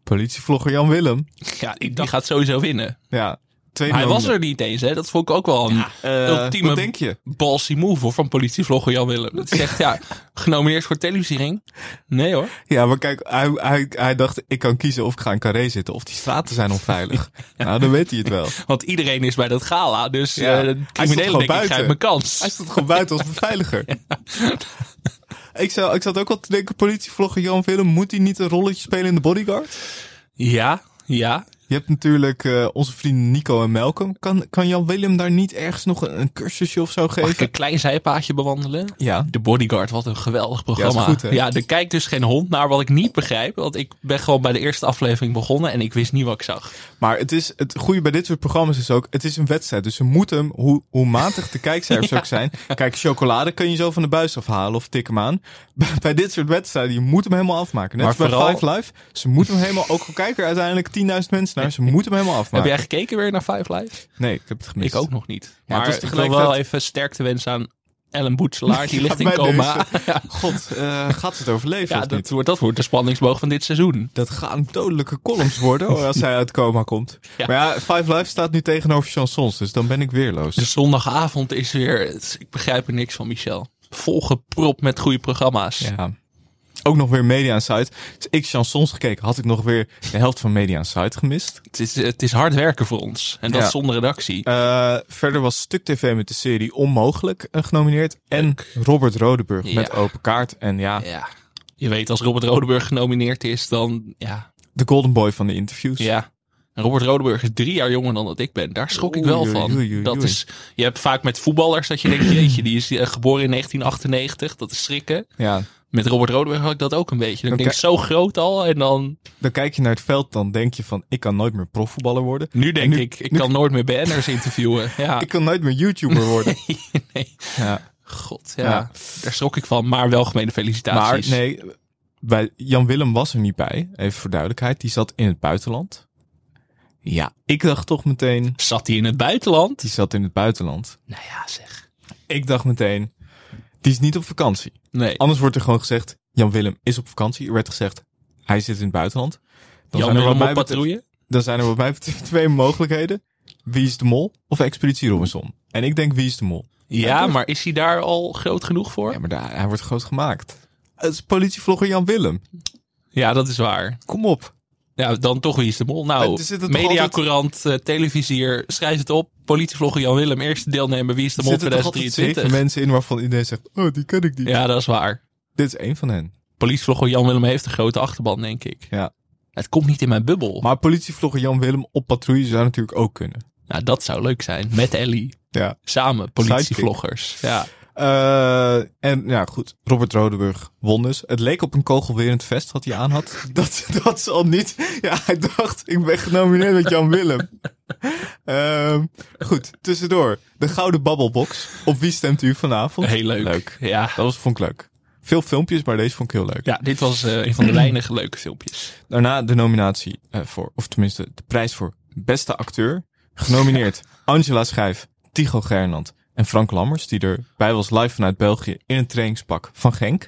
Politievlogger Jan Willem. ja die, die gaat sowieso winnen. Ja. Tweede Maar hij was nominatie. er niet eens, hè. Dat vond ik ook wel een Eh, ultieme Wat denk je? ballsy move hoor, van politievlogger Jan Willem. Dat zegt, ja, genomineerd voor televisiering? Nee hoor. Ja, maar kijk, hij, hij, hij dacht, ik kan kiezen of ik ga in Carré zitten of die straten zijn onveilig. Nou, dan weet hij het wel. Want iedereen is bij dat gala, dus Ja. ja. Hij de stond criminelen gewoon denk ik, buiten. krijgt mijn Hij kans. stond gewoon buiten als beveiliger. Ik, zou, ik zat ook wel te denken, politievlogger Jan Willem, moet hij niet een rolletje spelen in de bodyguard? Ja, ja. Je hebt natuurlijk eh, onze vrienden Nico en Malcolm. Kan, kan Jan Willem daar niet ergens nog een, een cursusje of zo Mag ik geven? een klein zijpaadje bewandelen? Ja. De Bodyguard, wat een geweldig programma. goed, hè? ja, er kijkt dus geen hond naar wat ik niet begrijp. Want ik ben gewoon bij de eerste aflevering begonnen en ik wist niet wat ik zag. Maar het, is, het goede bij dit soort programma's is ook, het is een wedstrijd. Dus ze moeten hem, hoe, hoe matig de kijkcijfers ook zijn. Kijk, chocolade kan je zo van de buis afhalen of tik hem aan. Bij, bij dit soort wedstrijden, je moet hem helemaal afmaken. Net Maar als bij vooral- Five Live. Ze moeten hem helemaal, ook al kijken er uiteindelijk 10.000 mensen naar, ze moeten hem helemaal Heb afmaken. jij gekeken weer naar Five Live? Nee, ik heb het gemist. Ik ook nog niet. Ja, het Maar was ik wil tegelijkertijd- wel even sterkte wensen aan Ellen Boetselaar. Die ligt in Bij coma. deze. God, eh, gaat ze het overleven Ja, of dat niet? wordt, dat wordt de spanningsboog van dit seizoen. Dat gaan dodelijke columns worden hoor, als hij uit coma komt. Ja. Maar ja, Five Live staat nu tegenover chansons, dus dan ben ik weerloos. De zondagavond is weer... het- Ik begrijp er niks van, Michel. Volgepropt met goede programma's. Ja. Ook nog weer Media en Site. Dus ik chansons gekeken, had ik nog weer de helft van Media en Site gemist. Het, is, het is hard werken voor ons. En dat Ja. zonder redactie. Eh, verder was Stuk TV met de serie Onmogelijk eh, genomineerd. En Robert Rodeburg Ja. met Open Kaart. En ja, Ja. Je weet, als Robert Rodeburg genomineerd is, dan... Ja. de golden boy van de interviews. ja. En Robert Rodeburg is drie jaar jonger dan dat ik ben. Daar schrok ik wel Oei, oei, van. oei, oei, dat oei. is, je hebt vaak met voetballers dat je denkt... Jeetje, die is eh, geboren in 1998. Dat is schrikken. ja. Met Robert Rodeburg had ik dat ook een beetje. Dan Oké. denk ik zo groot al en dan... Dan kijk je naar het veld, dan denk je van, ik kan nooit meer profvoetballer worden. Nu denk nu- ik, ik nu- kan nooit meer BN'ers interviewen. Ja. Ik kan nooit meer YouTuber worden. nee. ja. God, ja. Ja. Daar schrok ik van, maar welgemene Maar felicitaties. nee, bij Jan Willem was er niet bij. Even voor duidelijkheid, die zat in het buitenland. Ja, ik dacht toch meteen, Zat hij in het buitenland? die zat in het buitenland. Nou ja, zeg. Ik dacht meteen, die is niet op vakantie. Nee, Anders wordt er gewoon gezegd, Jan Willem is op vakantie. Er werd gezegd, hij zit in het buitenland. Dan Jan Willem op betreft- patrouille. dan zijn er wat mij betreft twee mogelijkheden. Wie is de mol of Expeditie Robinson? En ik denk, wie is de mol? Ja, maar is hij daar al groot genoeg voor? Ja, Ja, maar daar, hij wordt groot gemaakt. Het is politievlogger Jan Willem. dat is waar. Kom op. Ja, dan toch wie is de mol? Eh, Nou, er zitten toch Mediacourant, eh televisier, schrijf het op. Politievlogger Jan Willem, eerste deelnemer. Wie is de Er mol zitten toch altijd zeven 2023? mensen in waarvan iedereen zegt, oh, die ken ik niet. Ja, dat is waar. Dit is één van hen. Politievlogger Jan Willem heeft een grote achterban, denk ik. Ja. Het komt niet in mijn bubbel. Maar politievlogger Jan Willem op patrouille zou natuurlijk ook kunnen. Nou, dat zou leuk zijn. Met Ellie. Ja. Samen, politievloggers. Ja. Eh, en ja, goed. Robert Rodeburg won dus. Het leek op een kogelwerend vest wat hij aan had. Dat, dat is al niet. Ja, hij dacht, ik ben genomineerd met Jan Willem. Ehm, goed, tussendoor. De Gouden Babbelbox. Op wie stemt u vanavond? Heel leuk. Ja. Dat was, vond ik leuk. Veel filmpjes, maar deze vond ik heel leuk. ja, dit was eh, een van de weinige leuke filmpjes. Daarna de nominatie eh, voor, of tenminste de prijs voor beste acteur. Genomineerd Angela Schijf, Tycho Gernand en Frank Lammers, die erbij was live vanuit België in een trainingspak van Genk.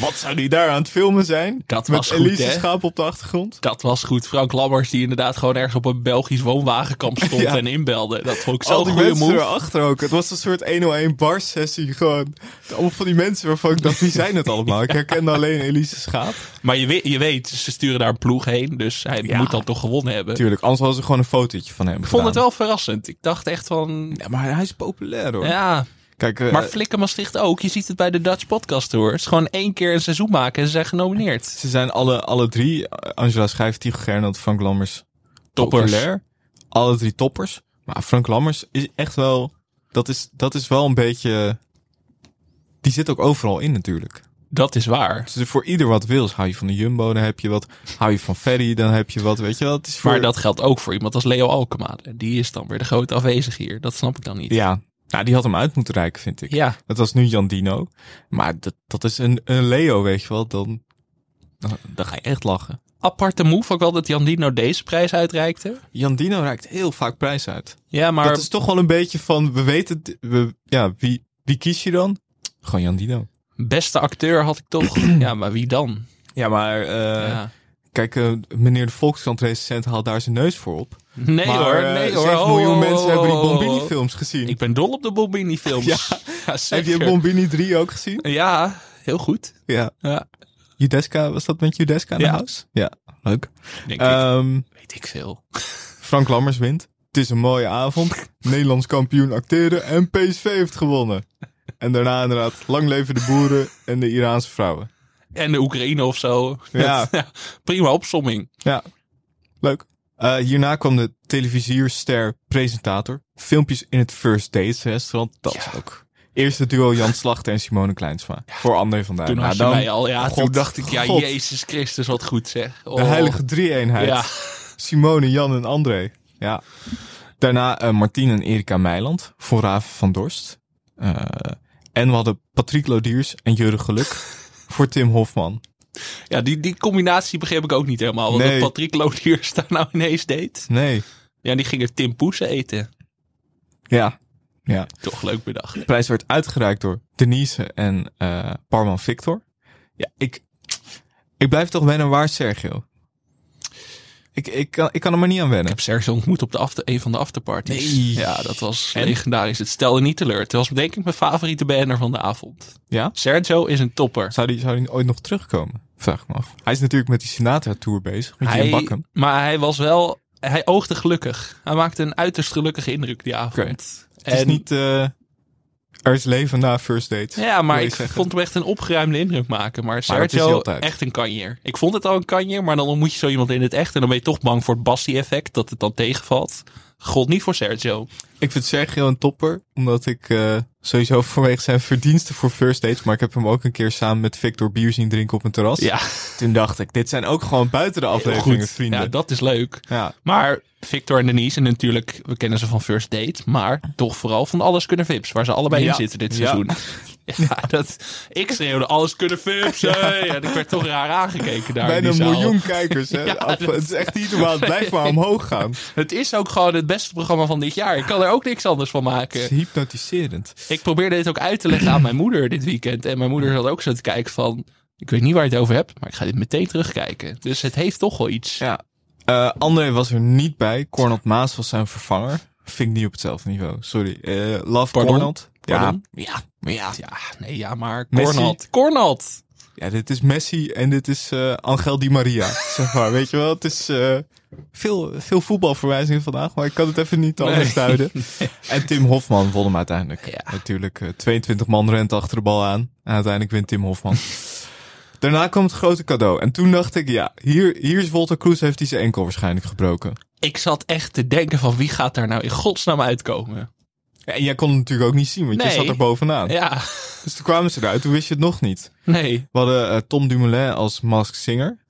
Wat zou die daar aan het filmen zijn? Dat Met was goed, Elise hè? Schaap op de achtergrond. Dat was goed. Frank Lammers, die inderdaad gewoon ergens op een Belgisch woonwagenkamp stond Ja. en inbelde. Dat vond ik Al zo'n die goede mensen move. erachter ook. Het was een soort 101 bar sessie gewoon. Allemaal van die mensen waarvan ik dacht, wie zijn het allemaal? Ik herkende alleen Elise Schaap. Maar je weet, je weet, ze sturen daar een ploeg heen, dus hij Ja. moet dat toch gewonnen hebben. Tuurlijk, anders hadden ze gewoon een fotootje van hem Ik vond het wel verrassend. Ik dacht echt van, Ja, maar hij is populair hoor. ja, Kijk, eh, Maar Flikken Maastricht ook. Je ziet het bij de Dutch Podcast Tour. Het is gewoon één keer een seizoen maken en ze zijn genomineerd. ze zijn alle, alle drie, eh, Angela Schijf, Tycho Gernand, Frank Lammers, Toppers. populair. Alle drie toppers. Maar Frank Lammers is echt wel, dat is, dat is wel een beetje, die zit ook overal in natuurlijk. Dat is waar. Dus voor ieder wat wils. Hou je van de Jumbo, dan heb je wat. Hou je van Ferry, dan heb je wat. Weet je wel, het is voor... Maar dat geldt ook voor iemand als Leo Alkema. Die is dan weer de grote afwezige hier. Dat snap ik dan niet. Ja, nou, die had hem uit moeten reiken, vind ik. Ja. Dat was nu Jan Dino. Maar dat, dat is een, een Leo, weet je wel. Dan, dan, dan ga je echt lachen. Aparte move ook wel dat Jan Dino deze prijs uitreikte. Jan Dino reikt heel vaak prijs uit. Ja, maar... Dat is toch wel een beetje van, we weten, het, we, ja, wie, wie kies je dan? Gewoon Jan Dino. Beste acteur had ik toch. ja, maar wie dan? Ja, maar eh, Ja. kijk, eh, meneer de Volkskrant-recensent haalt daar zijn neus voor op. Nee maar, hoor, eh, nee hoor. 7 Oh, miljoen oh, mensen oh, hebben die oh, oh. Bombini-films gezien. Ik ben dol op de Bombini-films. Ja. Heb zeker. je Bombini 3 ook gezien? Ja, heel goed. Ja. Ja, Judeska, was dat met Judeska in Ja. de huis? Ja, leuk. denk ik. Ehm, Weet ik veel. Frank Lammers wint. Het is een mooie avond. Nederlands kampioen acteren en PSV heeft gewonnen. En daarna inderdaad, lang leven de boeren en de Iraanse vrouwen. En de Oekraïne of zo. Ja. Prima opsomming. Ja, leuk. Eh, hierna kwam de televisierster presentator. Filmpjes in het First Dates restaurant. Dat is ook. Eerste duo Jan Slachter en Simone Kleinsma. Voor André van Duin. Toen had je Nou, dan- mij al, ja, toen God, dacht ik, ja, God, Jezus Christus, wat goed zeg. Oh. De heilige drie-eenheid. Ja, Simone, Jan en André. Ja. Daarna eh, Martien en Erika Meiland voor Raven van Dorst. Eh, en we hadden Patrick Lodiers en Jurre Geluk voor Tim Hofman. ja die, die combinatie begreep ik ook niet helemaal. Want Nee. dat Patrick Lodiers daar nou ineens deed. Nee. Ja, die gingen Tim Poesen eten. Ja. ja. Toch leuk bedacht. De prijs werd uitgereikt door Denise en eh, Parman Victor. Ja, ik, ik blijf toch wennen waar Sergio. Ik, ik, kan, ik kan er maar niet aan wennen. heb Serge ontmoet op de after, een van de afterparties. Nee. Ja, dat was En? legendarisch. Het stelde niet teleur. Het was denk ik mijn favoriete banner van de avond. Ja? Sergio is een topper. Zou die, zou die ooit nog terugkomen? Vraag ik me af. Hij is natuurlijk met die Sinatra-tour bezig. Met Jim Hij, Bakken. maar hij was wel... Hij oogde gelukkig. Hij maakte een uiterst gelukkige indruk die avond. Oké. Het is En- niet... eh, er is leven na first date. Ja, maar wil ik zeggen. vond hem echt een opgeruimde indruk maken. Maar dat is hij Sergio, altijd. echt een kanjer. Ik vond het al een kanjer, maar dan ontmoet je zo iemand in het echt. En dan ben je toch bang voor het Bassi-effect, dat het dan tegenvalt. God niet voor Sergio. Ik vind Sergio een topper, omdat ik eh, sowieso vanwege zijn verdiensten voor first dates, maar ik heb hem ook een keer samen met Victor bier zien drinken op een terras. Ja, Toen dacht ik, dit zijn ook gewoon buiten de afleveringen goed. vrienden. Ja, dat is leuk. Ja. Maar Victor en Denise, en natuurlijk, we kennen ze van First Date, maar toch vooral van Alles Kunnen Vips, waar ze allebei Ja. in zitten dit Ja. seizoen. Ja, dat, ik schreeuwde Alles Kunnen Vips, hey! En ik werd toch raar aangekeken daar in Bijna die een zaal. miljoen kijkers. Hè? Ja, Af- dat- Het is echt niet normaal. Het blijft maar omhoog gaan. Het is ook gewoon het beste programma van dit jaar. Ik kan er ook niks anders van Het is maken. hypnotiserend. Ik probeerde dit ook uit te leggen aan mijn moeder dit weekend. En mijn moeder zat ook zo te kijken van... Ik weet niet waar je het over hebt, maar ik ga dit meteen terugkijken. Dus het heeft toch wel iets. Ja. Eh, André was er niet bij. Cornald Maas was zijn vervanger. Vind ik niet op hetzelfde niveau. Sorry. Eh, love Pardon? Cornald. Pardon? Ja. Ja. Maar ja. Ja, nee, ja, maar Messi. Cornald. Cornald! Ja, dit is Messi en dit is eh, Angel Di Maria. zeg maar, weet je wel. Het is eh, veel, veel voetbalverwijzingen vandaag, maar ik kan het even niet anders duiden. En Tim Hofman won hem uiteindelijk. Ja. Natuurlijk, eh, 22 man rent achter de bal aan. En uiteindelijk wint Tim Hofman. Daarna kwam het grote cadeau. En toen dacht ik, ja, hier, hier is Walter Cruz, heeft hij zijn enkel waarschijnlijk gebroken. Ik zat echt te denken van wie gaat daar nou in godsnaam uitkomen? Ja, En jij kon het natuurlijk ook niet zien, want je Nee. zat er bovenaan. Ja, Dus toen kwamen ze eruit, toen wist je het nog niet. nee. We hadden eh, Tom Dumoulin als Mask Singer.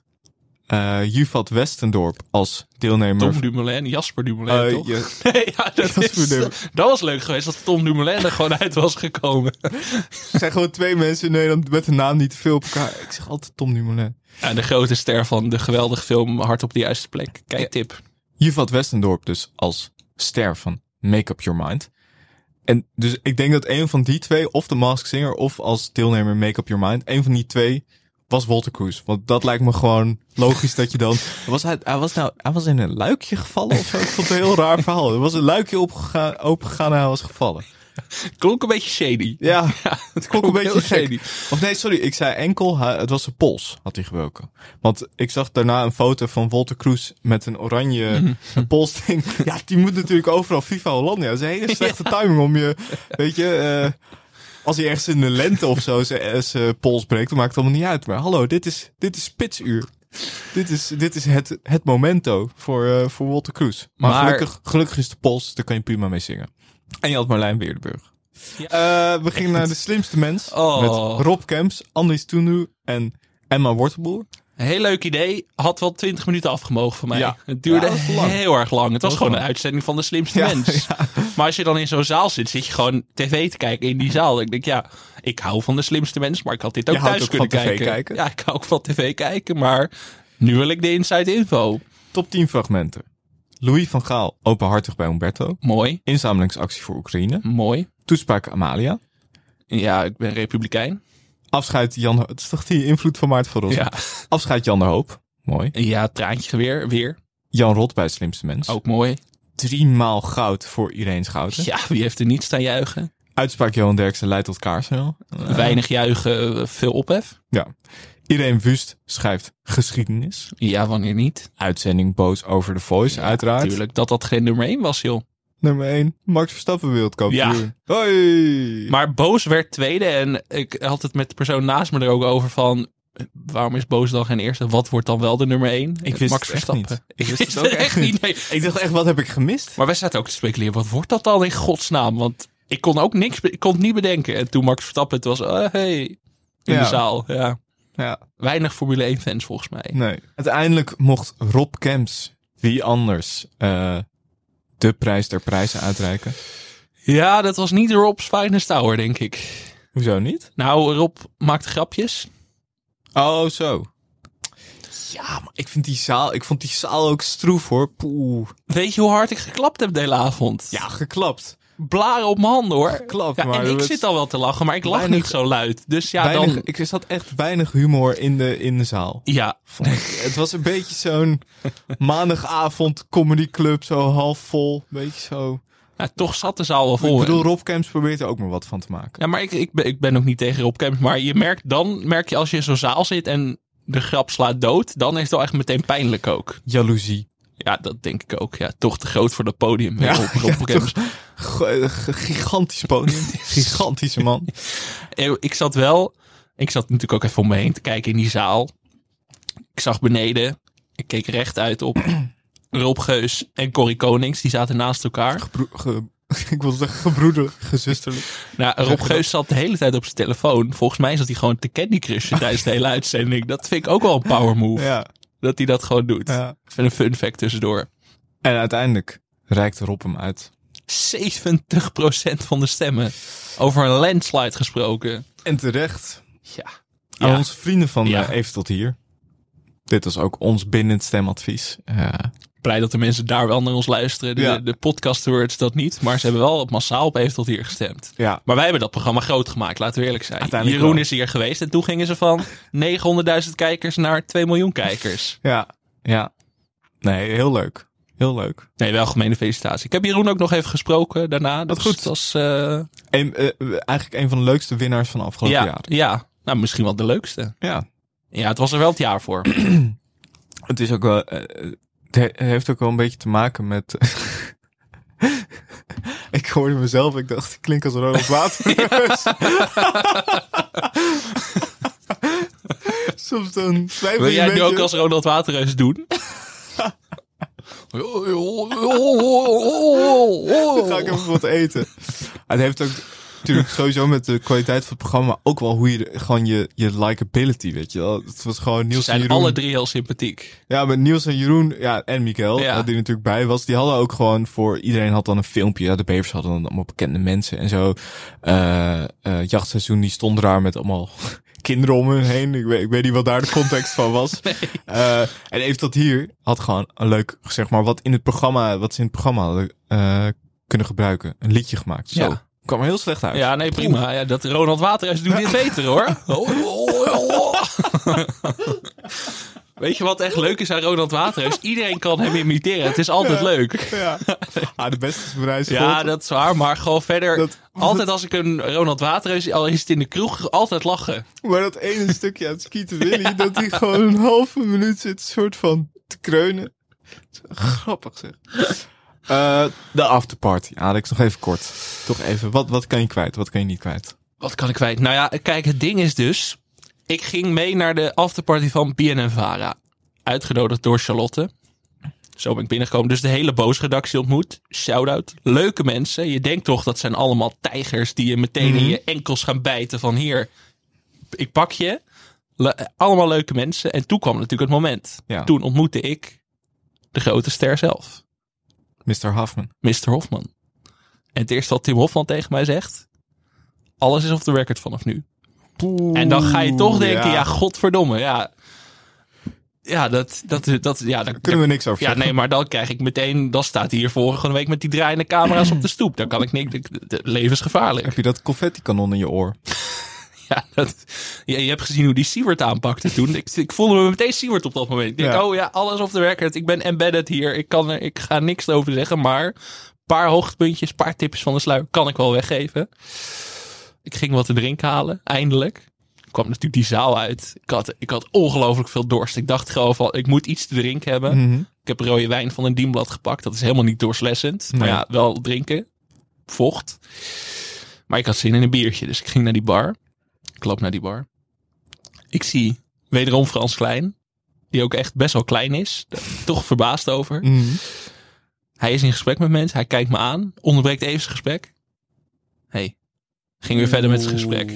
Eh Juvat Westendorp als deelnemer. Tom Dumoulin, Jasper Dumoulin, Eh, toch? je- Nee, ja, dat, was is, voor dat was leuk geweest dat Tom Dumoulin er gewoon uit was gekomen. er zijn gewoon twee mensen in Nederland met een naam niet te veel op elkaar. Ik zeg altijd Tom Dumoulin. Ja, de grote ster van de geweldige film Hart op de Juiste Plek. Kijk, tip. Juvat Westendorp dus als ster van Make Up Your Mind. En dus ik denk dat een van die twee, of de Mask Singer of als deelnemer Make Up Your Mind, een van die twee was Walter Cruz. Want dat lijkt me gewoon logisch dat je dan... Was hij, hij, was nou, hij was in een luikje gevallen of zo? Ik vond het een heel raar verhaal. Er was een luikje opgegaan, opengegaan en hij was gevallen. Klonk een beetje shady. Ja, het klonk een beetje heel shady. Of nee, sorry, ik zei enkel, hij- het was zijn pols, had hij gebroken. Want ik zag daarna een foto van Walter Cruz met een oranje polsding. Ja, die moet natuurlijk overal FIFA Hollandia. Dat is een hele slechte timing om je, weet je... eh, als hij ergens in de lente of zo zijn eh, zijn pols breekt, dan maakt het allemaal niet uit. Maar hallo, dit is, dit is spitsuur. Dit is, dit is het, het momento voor, eh, voor Walter Cruz. Maar, Maar- gelukkig, gelukkig is de pols, daar kan je prima mee zingen. En je had Marlijn Weerdenburg. Eh, we gingen naar de slimste mens. Oh. Met Rob Kemps, Andries Toenu en Emma Wortelboer. Een heel leuk idee. Had wel 20 minuten afgemogen van mij. Ja. Het duurde Ja, dat was lang. heel erg lang. Het was was gewoon lang. een uitzending van de slimste Ja, mens. Maar als je dan in zo'n zaal zit, zit je gewoon tv te kijken in die zaal. Ik denk, ja, ik hou van de slimste mens, maar ik had dit ook Je houdt thuis ook van kunnen kijken. TV kijken? Ja, ik hou ook van tv kijken, maar nu wil ik de inside info. Top 10 fragmenten. Louis van Gaal, openhartig bij Umberto. Mooi, Inzamelingsactie voor Oekraïne. mooi. Toespraak Amalia. Ja, ik ben republikein. Afscheid Jan... Het is toch die invloed van Maarten van Rossum? Ja, Afscheid Jan de Hoop. Mooi. ja traantje weer, weer. Jan Rot bij Slimste Mens. Ook mooi. Driemaal goud voor Irene Schouten. Oh. Ja, wie heeft er niet staan juichen? Uitspraak Johan Derksen leidt tot kaarsen. Weinig juichen, eh, veel ophef. Ja. Irene Wust schrijft geschiedenis. Ja, wanneer niet? Uitzending boos over de voice, uiteraard. Tuurlijk, dat dat geen nummer 1 was, joh. Nummer 1, Max Verstappen wereldkampioen. Ja. Hoi! Maar Boos werd tweede en ik had het met de persoon naast me er ook over van... Waarom is Boos dan geen eerste? Wat wordt dan wel de nummer 1? Ik wist het echt niet. Ik wist het het ook ook echt niet. nee. ik dacht echt, wat heb ik gemist? Maar wij zaten ook te speculeren, wat wordt dat dan in godsnaam? Want ik kon ook niks, be- ik kon het niet bedenken. En toen Max Verstappen, het was, oh, hey, in Ja. de zaal. Ja. Ja, Weinig Formule 1 fans volgens mij. nee. Uiteindelijk mocht Rob Kemps, wie anders, eh, de prijs der prijzen uitreiken. Ja, dat was niet Rob's finest hour, denk ik. Hoezo niet? Nou, Rob maakt grapjes. Oh, zo. Ja, maar ik vind die zaal, ik vond die zaal ook stroef hoor. Poeh. Weet je hoe hard ik geklapt heb de hele avond? Ja, geklapt. blaren op mijn handen hoor. Geklapt, ja, maar En ik dat- zit al wel te lachen, maar ik lach Weinig- niet zo luid. Dus ja, weinig, dan... Ik zat echt weinig humor in de, in de zaal. Ja, vond ik. Het was een beetje zo'n maandagavond comedyclub, zo half vol. Beetje zo. Ja, toch zat de zaal wel vol. ik bedoel, Rob Camps probeert er ook maar wat van te maken. ja, maar ik, ik, ben, ik ben ook niet tegen Rob Kemp. Maar je merkt, dan merk je als je in zo'n zaal zit en de grap slaat dood, dan is het wel echt meteen pijnlijk ook. Jaloezie. Ja, dat denk ik ook. Ja, toch te groot voor dat podium. Ja, Rob, Rob Kemp. G- eh, g- gigantisch podium. Gigantische man. Eh, Ik zat wel, ik zat natuurlijk ook even om me heen te kijken in die zaal. Ik zag beneden, ik keek rechtuit op Rob Geus en Corrie Konings. Die zaten naast elkaar. Gebro- ge- ik wil zeggen gebroeder, gezusterlijk. Nou, Rob Geus zat de hele tijd op zijn telefoon. Volgens mij zat hij gewoon te Candy Crushen tijdens de hele uitzending. Dat vind ik ook wel een power move. Ja, Dat hij dat gewoon doet. ja. Even een fun fact tussendoor. En uiteindelijk reikt Rob hem uit. 70% van de stemmen. Over een landslide gesproken. En terecht Ja. aan Ja. onze vrienden van eh, Ja. Even Tot Hier. Dit was ook ons Eh, bindend stemadvies. Ja. Blij dat de mensen daar wel naar ons luisteren. De, Ja. de podcast words dat niet. Maar ze hebben wel massaal op Even tot hier gestemd. Ja. Maar wij hebben dat programma groot gemaakt. Laten we eerlijk zijn. Uiteindelijk Jeroen wel. is hier geweest. En toen gingen ze van 900.000 kijkers naar 2 miljoen kijkers. Ja, ja. Nee, heel leuk. Heel leuk. Nee, wel algemene felicitatie. Ik heb Jeroen ook nog even gesproken daarna. Dat Wat was- goed. Dat was, eh, En, eh, eigenlijk een van de leukste winnaars van afgelopen ja, jaar. ja, nou misschien wel de leukste. Ja. Ja, het was er wel het jaar voor. Het is ook wel. eh, het he- heeft ook wel een beetje te maken met. ik hoorde mezelf, ik dacht, ik klink als Ronald Waterreus. Soms dan twijfel Wil je jij een nu beetje. ook als Ronald Waterreus doen? Dan ga ik even wat eten. Oh. het heeft ook natuurlijk sowieso met de kwaliteit van het programma ook wel hoe je de- gewoon je, je likability, weet je wel. Het was gewoon Ze Niels en zijn Jeroen. alle drie heel sympathiek. Ja, met Niels en Jeroen ja, en Mikael, Ja. eh, die er natuurlijk bij was. Die hadden ook gewoon voor... Iedereen had dan een filmpje. Ja, de Bevers hadden dan allemaal bekende mensen en zo. Eh eh, jachtseizoen, die stonden daar met allemaal kinderen om hun heen. Ik weet, ik weet niet wat daar de context van was. Eh, en even tot hier had gewoon een leuk, zeg maar, wat in het programma... Wat ze in het programma hadden eh, kunnen gebruiken. Een liedje gemaakt. Zo. Ja. Kwam er heel slecht uit. Ja, nee, prima. Ja, dat Ronald Waterhuis doet dit beter, hoor. Weet je wat echt leuk is aan Ronald Waterhuis? Iedereen kan hem imiteren. Het is altijd leuk. Ja. Ah, de beste is voor mij. Ja, dat is waar. Maar gewoon verder. Dat- altijd als ik een Ronald Waterhuis, al is het in de kroeg, altijd lachen. Maar dat ene stukje aan het skieten Willy, dat hij gewoon een halve minuut zit, soort van te kreunen. Dat is Grappig zeg. Eh, de afterparty, Alex, nog even kort. Toch even, wat, wat kan je kwijt, wat kan je niet kwijt? Wat kan ik kwijt? Nou ja, kijk, het ding is dus. Ik ging mee naar de afterparty van BNNVARA. Uitgenodigd door Charlotte. Zo ben ik binnengekomen. Dus de hele boosredactie ontmoet. Shout-out. Leuke mensen. Je denkt toch dat zijn allemaal tijgers die je meteen in je enkels gaan bijten. Van hier, ik pak je. Le- allemaal leuke mensen. En toen kwam natuurlijk het moment. Ja. Toen ontmoette ik de grote ster zelf. Mr. Huffman. Mr. Hofman. En het eerste wat Tim Hofman tegen mij zegt. Alles is off the record vanaf nu. En dan ga je toch denken, ja, godverdomme, ja. Ja, dat, dat, dat, ja, dan Kunnen we niks over Ja, zeggen. nee, maar dan krijg ik meteen, dan staat hij hier volgende week met die draaiende camera's op de stoep. Dan kan ik niks, de- de- levensgevaarlijk. Heb je dat confetti-kanon in je oor? Ja, dat, je, je hebt gezien hoe die Siewert aanpakte toen. Ik, ik voelde me meteen Siewert op dat moment. Ik denk, Ja. oh ja, alles off the record. Ik ben embedded hier. Ik, kan er, ik ga niks over zeggen, maar een paar hoogtepuntjes, een paar tipjes van de sluier kan ik wel weggeven. Ik ging wat te drinken halen, eindelijk. Ik kwam natuurlijk die zaal uit. Ik had, ik had ongelooflijk veel dorst. Ik dacht gewoon van, ik moet iets te drinken hebben. Mhm. Ik heb rode wijn van een dienblad gepakt. Dat is helemaal niet doorslessend. Maar Nee. ja, wel drinken. Vocht. Maar ik had zin in een biertje, dus ik ging naar die bar. Ik loop naar die bar. Ik zie wederom Frans Klein. Die ook echt best wel klein is. Daar ben ik Toch verbaasd over. Mhm. Hij is in gesprek met mensen. Hij kijkt me aan. Onderbreekt even zijn gesprek. hey, ging weer verder met zijn gesprek.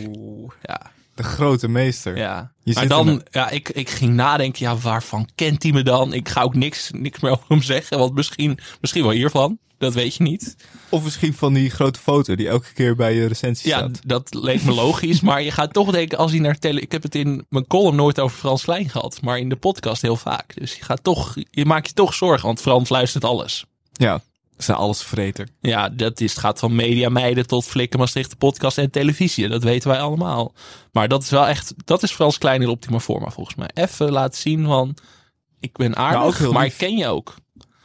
Ja, De grote meester. ja. Je maar zit dan, in een- ja, ik, ik ging nadenken, ja, waarvan kent hij me dan? Ik ga ook niks, niks meer over hem zeggen, want misschien, misschien wel hiervan. Dat weet je niet. Of misschien van die grote foto die elke keer bij je recensie Ja, staat. d- dat leek me logisch. Maar je gaat toch denken, als hij naar tele... Ik heb het in mijn column nooit over Frans Klein gehad, maar in de podcast heel vaak. Dus je, gaat toch, je maakt je toch zorgen, want Frans luistert alles. Ja, ze zijn alles vreter. Ja, dat is, het gaat van Media Meiden tot Flikken Maastricht, de podcast en televisie. Dat weten wij allemaal. Maar dat is wel echt, dat is Frans Klein in optima forma volgens mij. Even laten zien van, ik ben Ja, Nou, ook aardig, heel maar lief. ik ken je ook.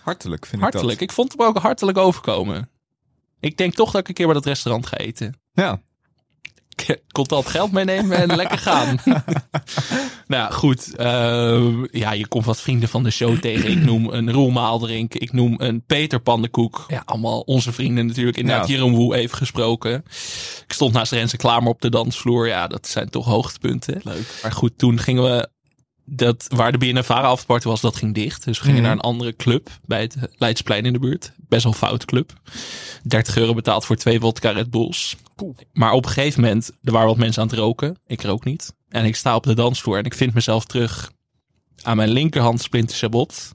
Hartelijk vind Hartelijk. ik Ik vond hem ook hartelijk overkomen. Ik denk toch dat ik een keer bij dat restaurant ga eten. dat. Ja, contant geld meenemen en lekker gaan. nou goed, ehm, ja, je komt wat vrienden van de show tegen. Ik noem een Roel Maaldrink, ik noem een Peter Pandenkoek. Ja, allemaal onze vrienden natuurlijk. Inderdaad, Ja. Jeroen Woe even gesproken. Ik stond naast Renze Klamer op de dansvloer. Ja, dat zijn toch hoogtepunten. Leuk. Maar goed, toen gingen we... Dat, waar de BNNVARA afparty was, dat ging dicht. Dus we gingen naar een andere club bij het Leidsplein in de buurt. Best wel fout club. 30 euro betaald voor twee vodka Red Bulls. Maar op een gegeven moment, er waren wat mensen aan het roken. Ik rook niet. En ik sta op de dansvloer en ik vind mezelf terug aan mijn linkerhand Splinter Sabot.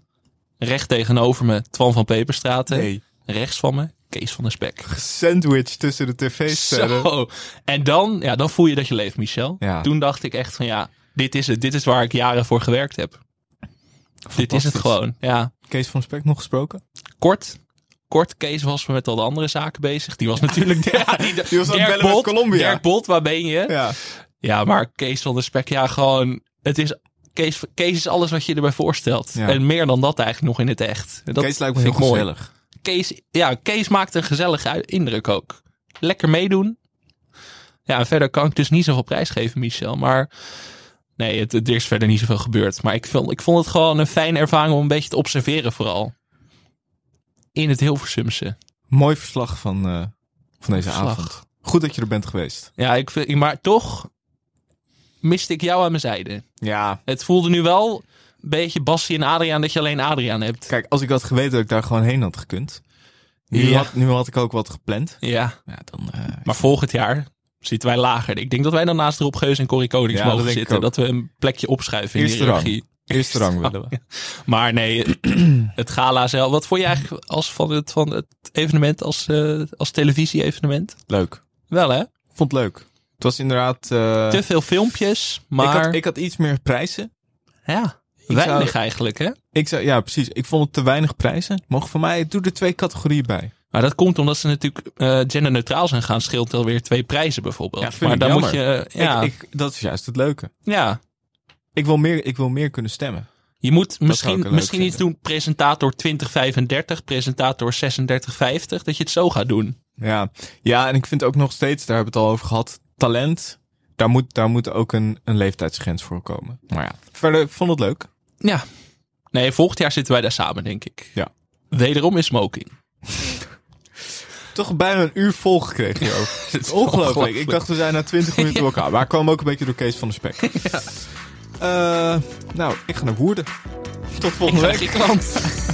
Recht tegenover me Twan van Peperstraten. Nee. Rechts van me Kees van der Spek. sandwich tussen de tv-sterren. Zo. En dan, ja, dan voel je dat je leeft, Michel. Ja. Toen dacht ik echt van ja, dit is het. Dit is waar ik jaren voor gewerkt heb. Dit is het Fantastisch. gewoon. Ja, Kees van Spek nog gesproken? kort. Kort, Kees was met al de andere zaken bezig. Die was natuurlijk... Ja, die, Die was aan Dirk het bellen met Bolt, Colombia. Dirk Bolt, waar ben je? Ja. Ja. maar Kees van der Spek, ja, gewoon... Het is, Kees, Kees is alles wat je erbij voorstelt. Ja. En meer dan dat eigenlijk nog in het echt. Dat Kees lijkt me heel vind ik mooi. gezellig. Kees, ja, Kees maakt een gezellige ui- indruk ook. Lekker meedoen. Ja, en verder kan ik dus niet zoveel prijs geven, Michel. Maar nee, het, het- er is verder niet zoveel gebeurd. Maar ik vond, ik vond het gewoon een fijne ervaring om een beetje te observeren vooral. In het Hilversumse. Mooi verslag van, eh, van deze Verslag. avond. Goed dat je er bent geweest. Ja, ik vind, maar toch miste ik jou aan mijn zijde. Ja. Het voelde nu wel een beetje Bassie en Adriaan dat je alleen Adriaan hebt. Kijk, als ik had geweten dat ik daar gewoon heen had gekund. Nu, Ja. had, nu had ik ook wat gepland. Ja, Ja, dan... eh, maar volgend jaar zitten wij lager. Ik denk dat wij dan naast Rob Geus en Corrie Konings Ja, dat mogen denk ik zitten. ook. Dat we een plekje opschuiven in Eerste de hiërarchie. rang. Eerste rang Ah. willen we. Maar nee, het gala zelf. Wat vond je eigenlijk als van, het, van het evenement als, eh, als televisie-evenement? Leuk. Wel hè? Vond het leuk. Het was inderdaad... eh, Te veel filmpjes, maar ik, had, ik had iets meer prijzen. ja, weinig zou- eigenlijk hè? Ik zei, ja, precies. Ik vond het te weinig prijzen. Mogen voor mij, doe er twee categorieën bij. Maar dat komt omdat ze natuurlijk eh genderneutraal zijn gaan. Scheelt alweer twee prijzen bijvoorbeeld. Ja, vind maar ik dan jammer. moet je... eh, Ja, Ik, ik, dat is juist het leuke. ja, Ik wil meer, ik wil meer kunnen stemmen. Je moet zou ik misschien, leuk misschien iets doen, presentator 2035, presentator 3650, dat je het zo gaat doen. Ja. ja, en ik vind ook nog steeds, daar hebben we het al over gehad, talent. Daar moet, daar moet ook een, een leeftijdsgrens voor komen. Maar ja, verder, ik vond het leuk. Ja. Nee, volgend jaar zitten wij daar samen, denk ik. Ja. Wederom is smoking. Toch bijna een uur vol gekregen hierover. Het is ongelooflijk. Ik dacht, we zijn na 20 minuten door elkaar. Maar ik kwam ook een beetje door Kees van de Spek. Eh, nou, ik ga naar Woerden. Tot volgende Naar week. Griekenland.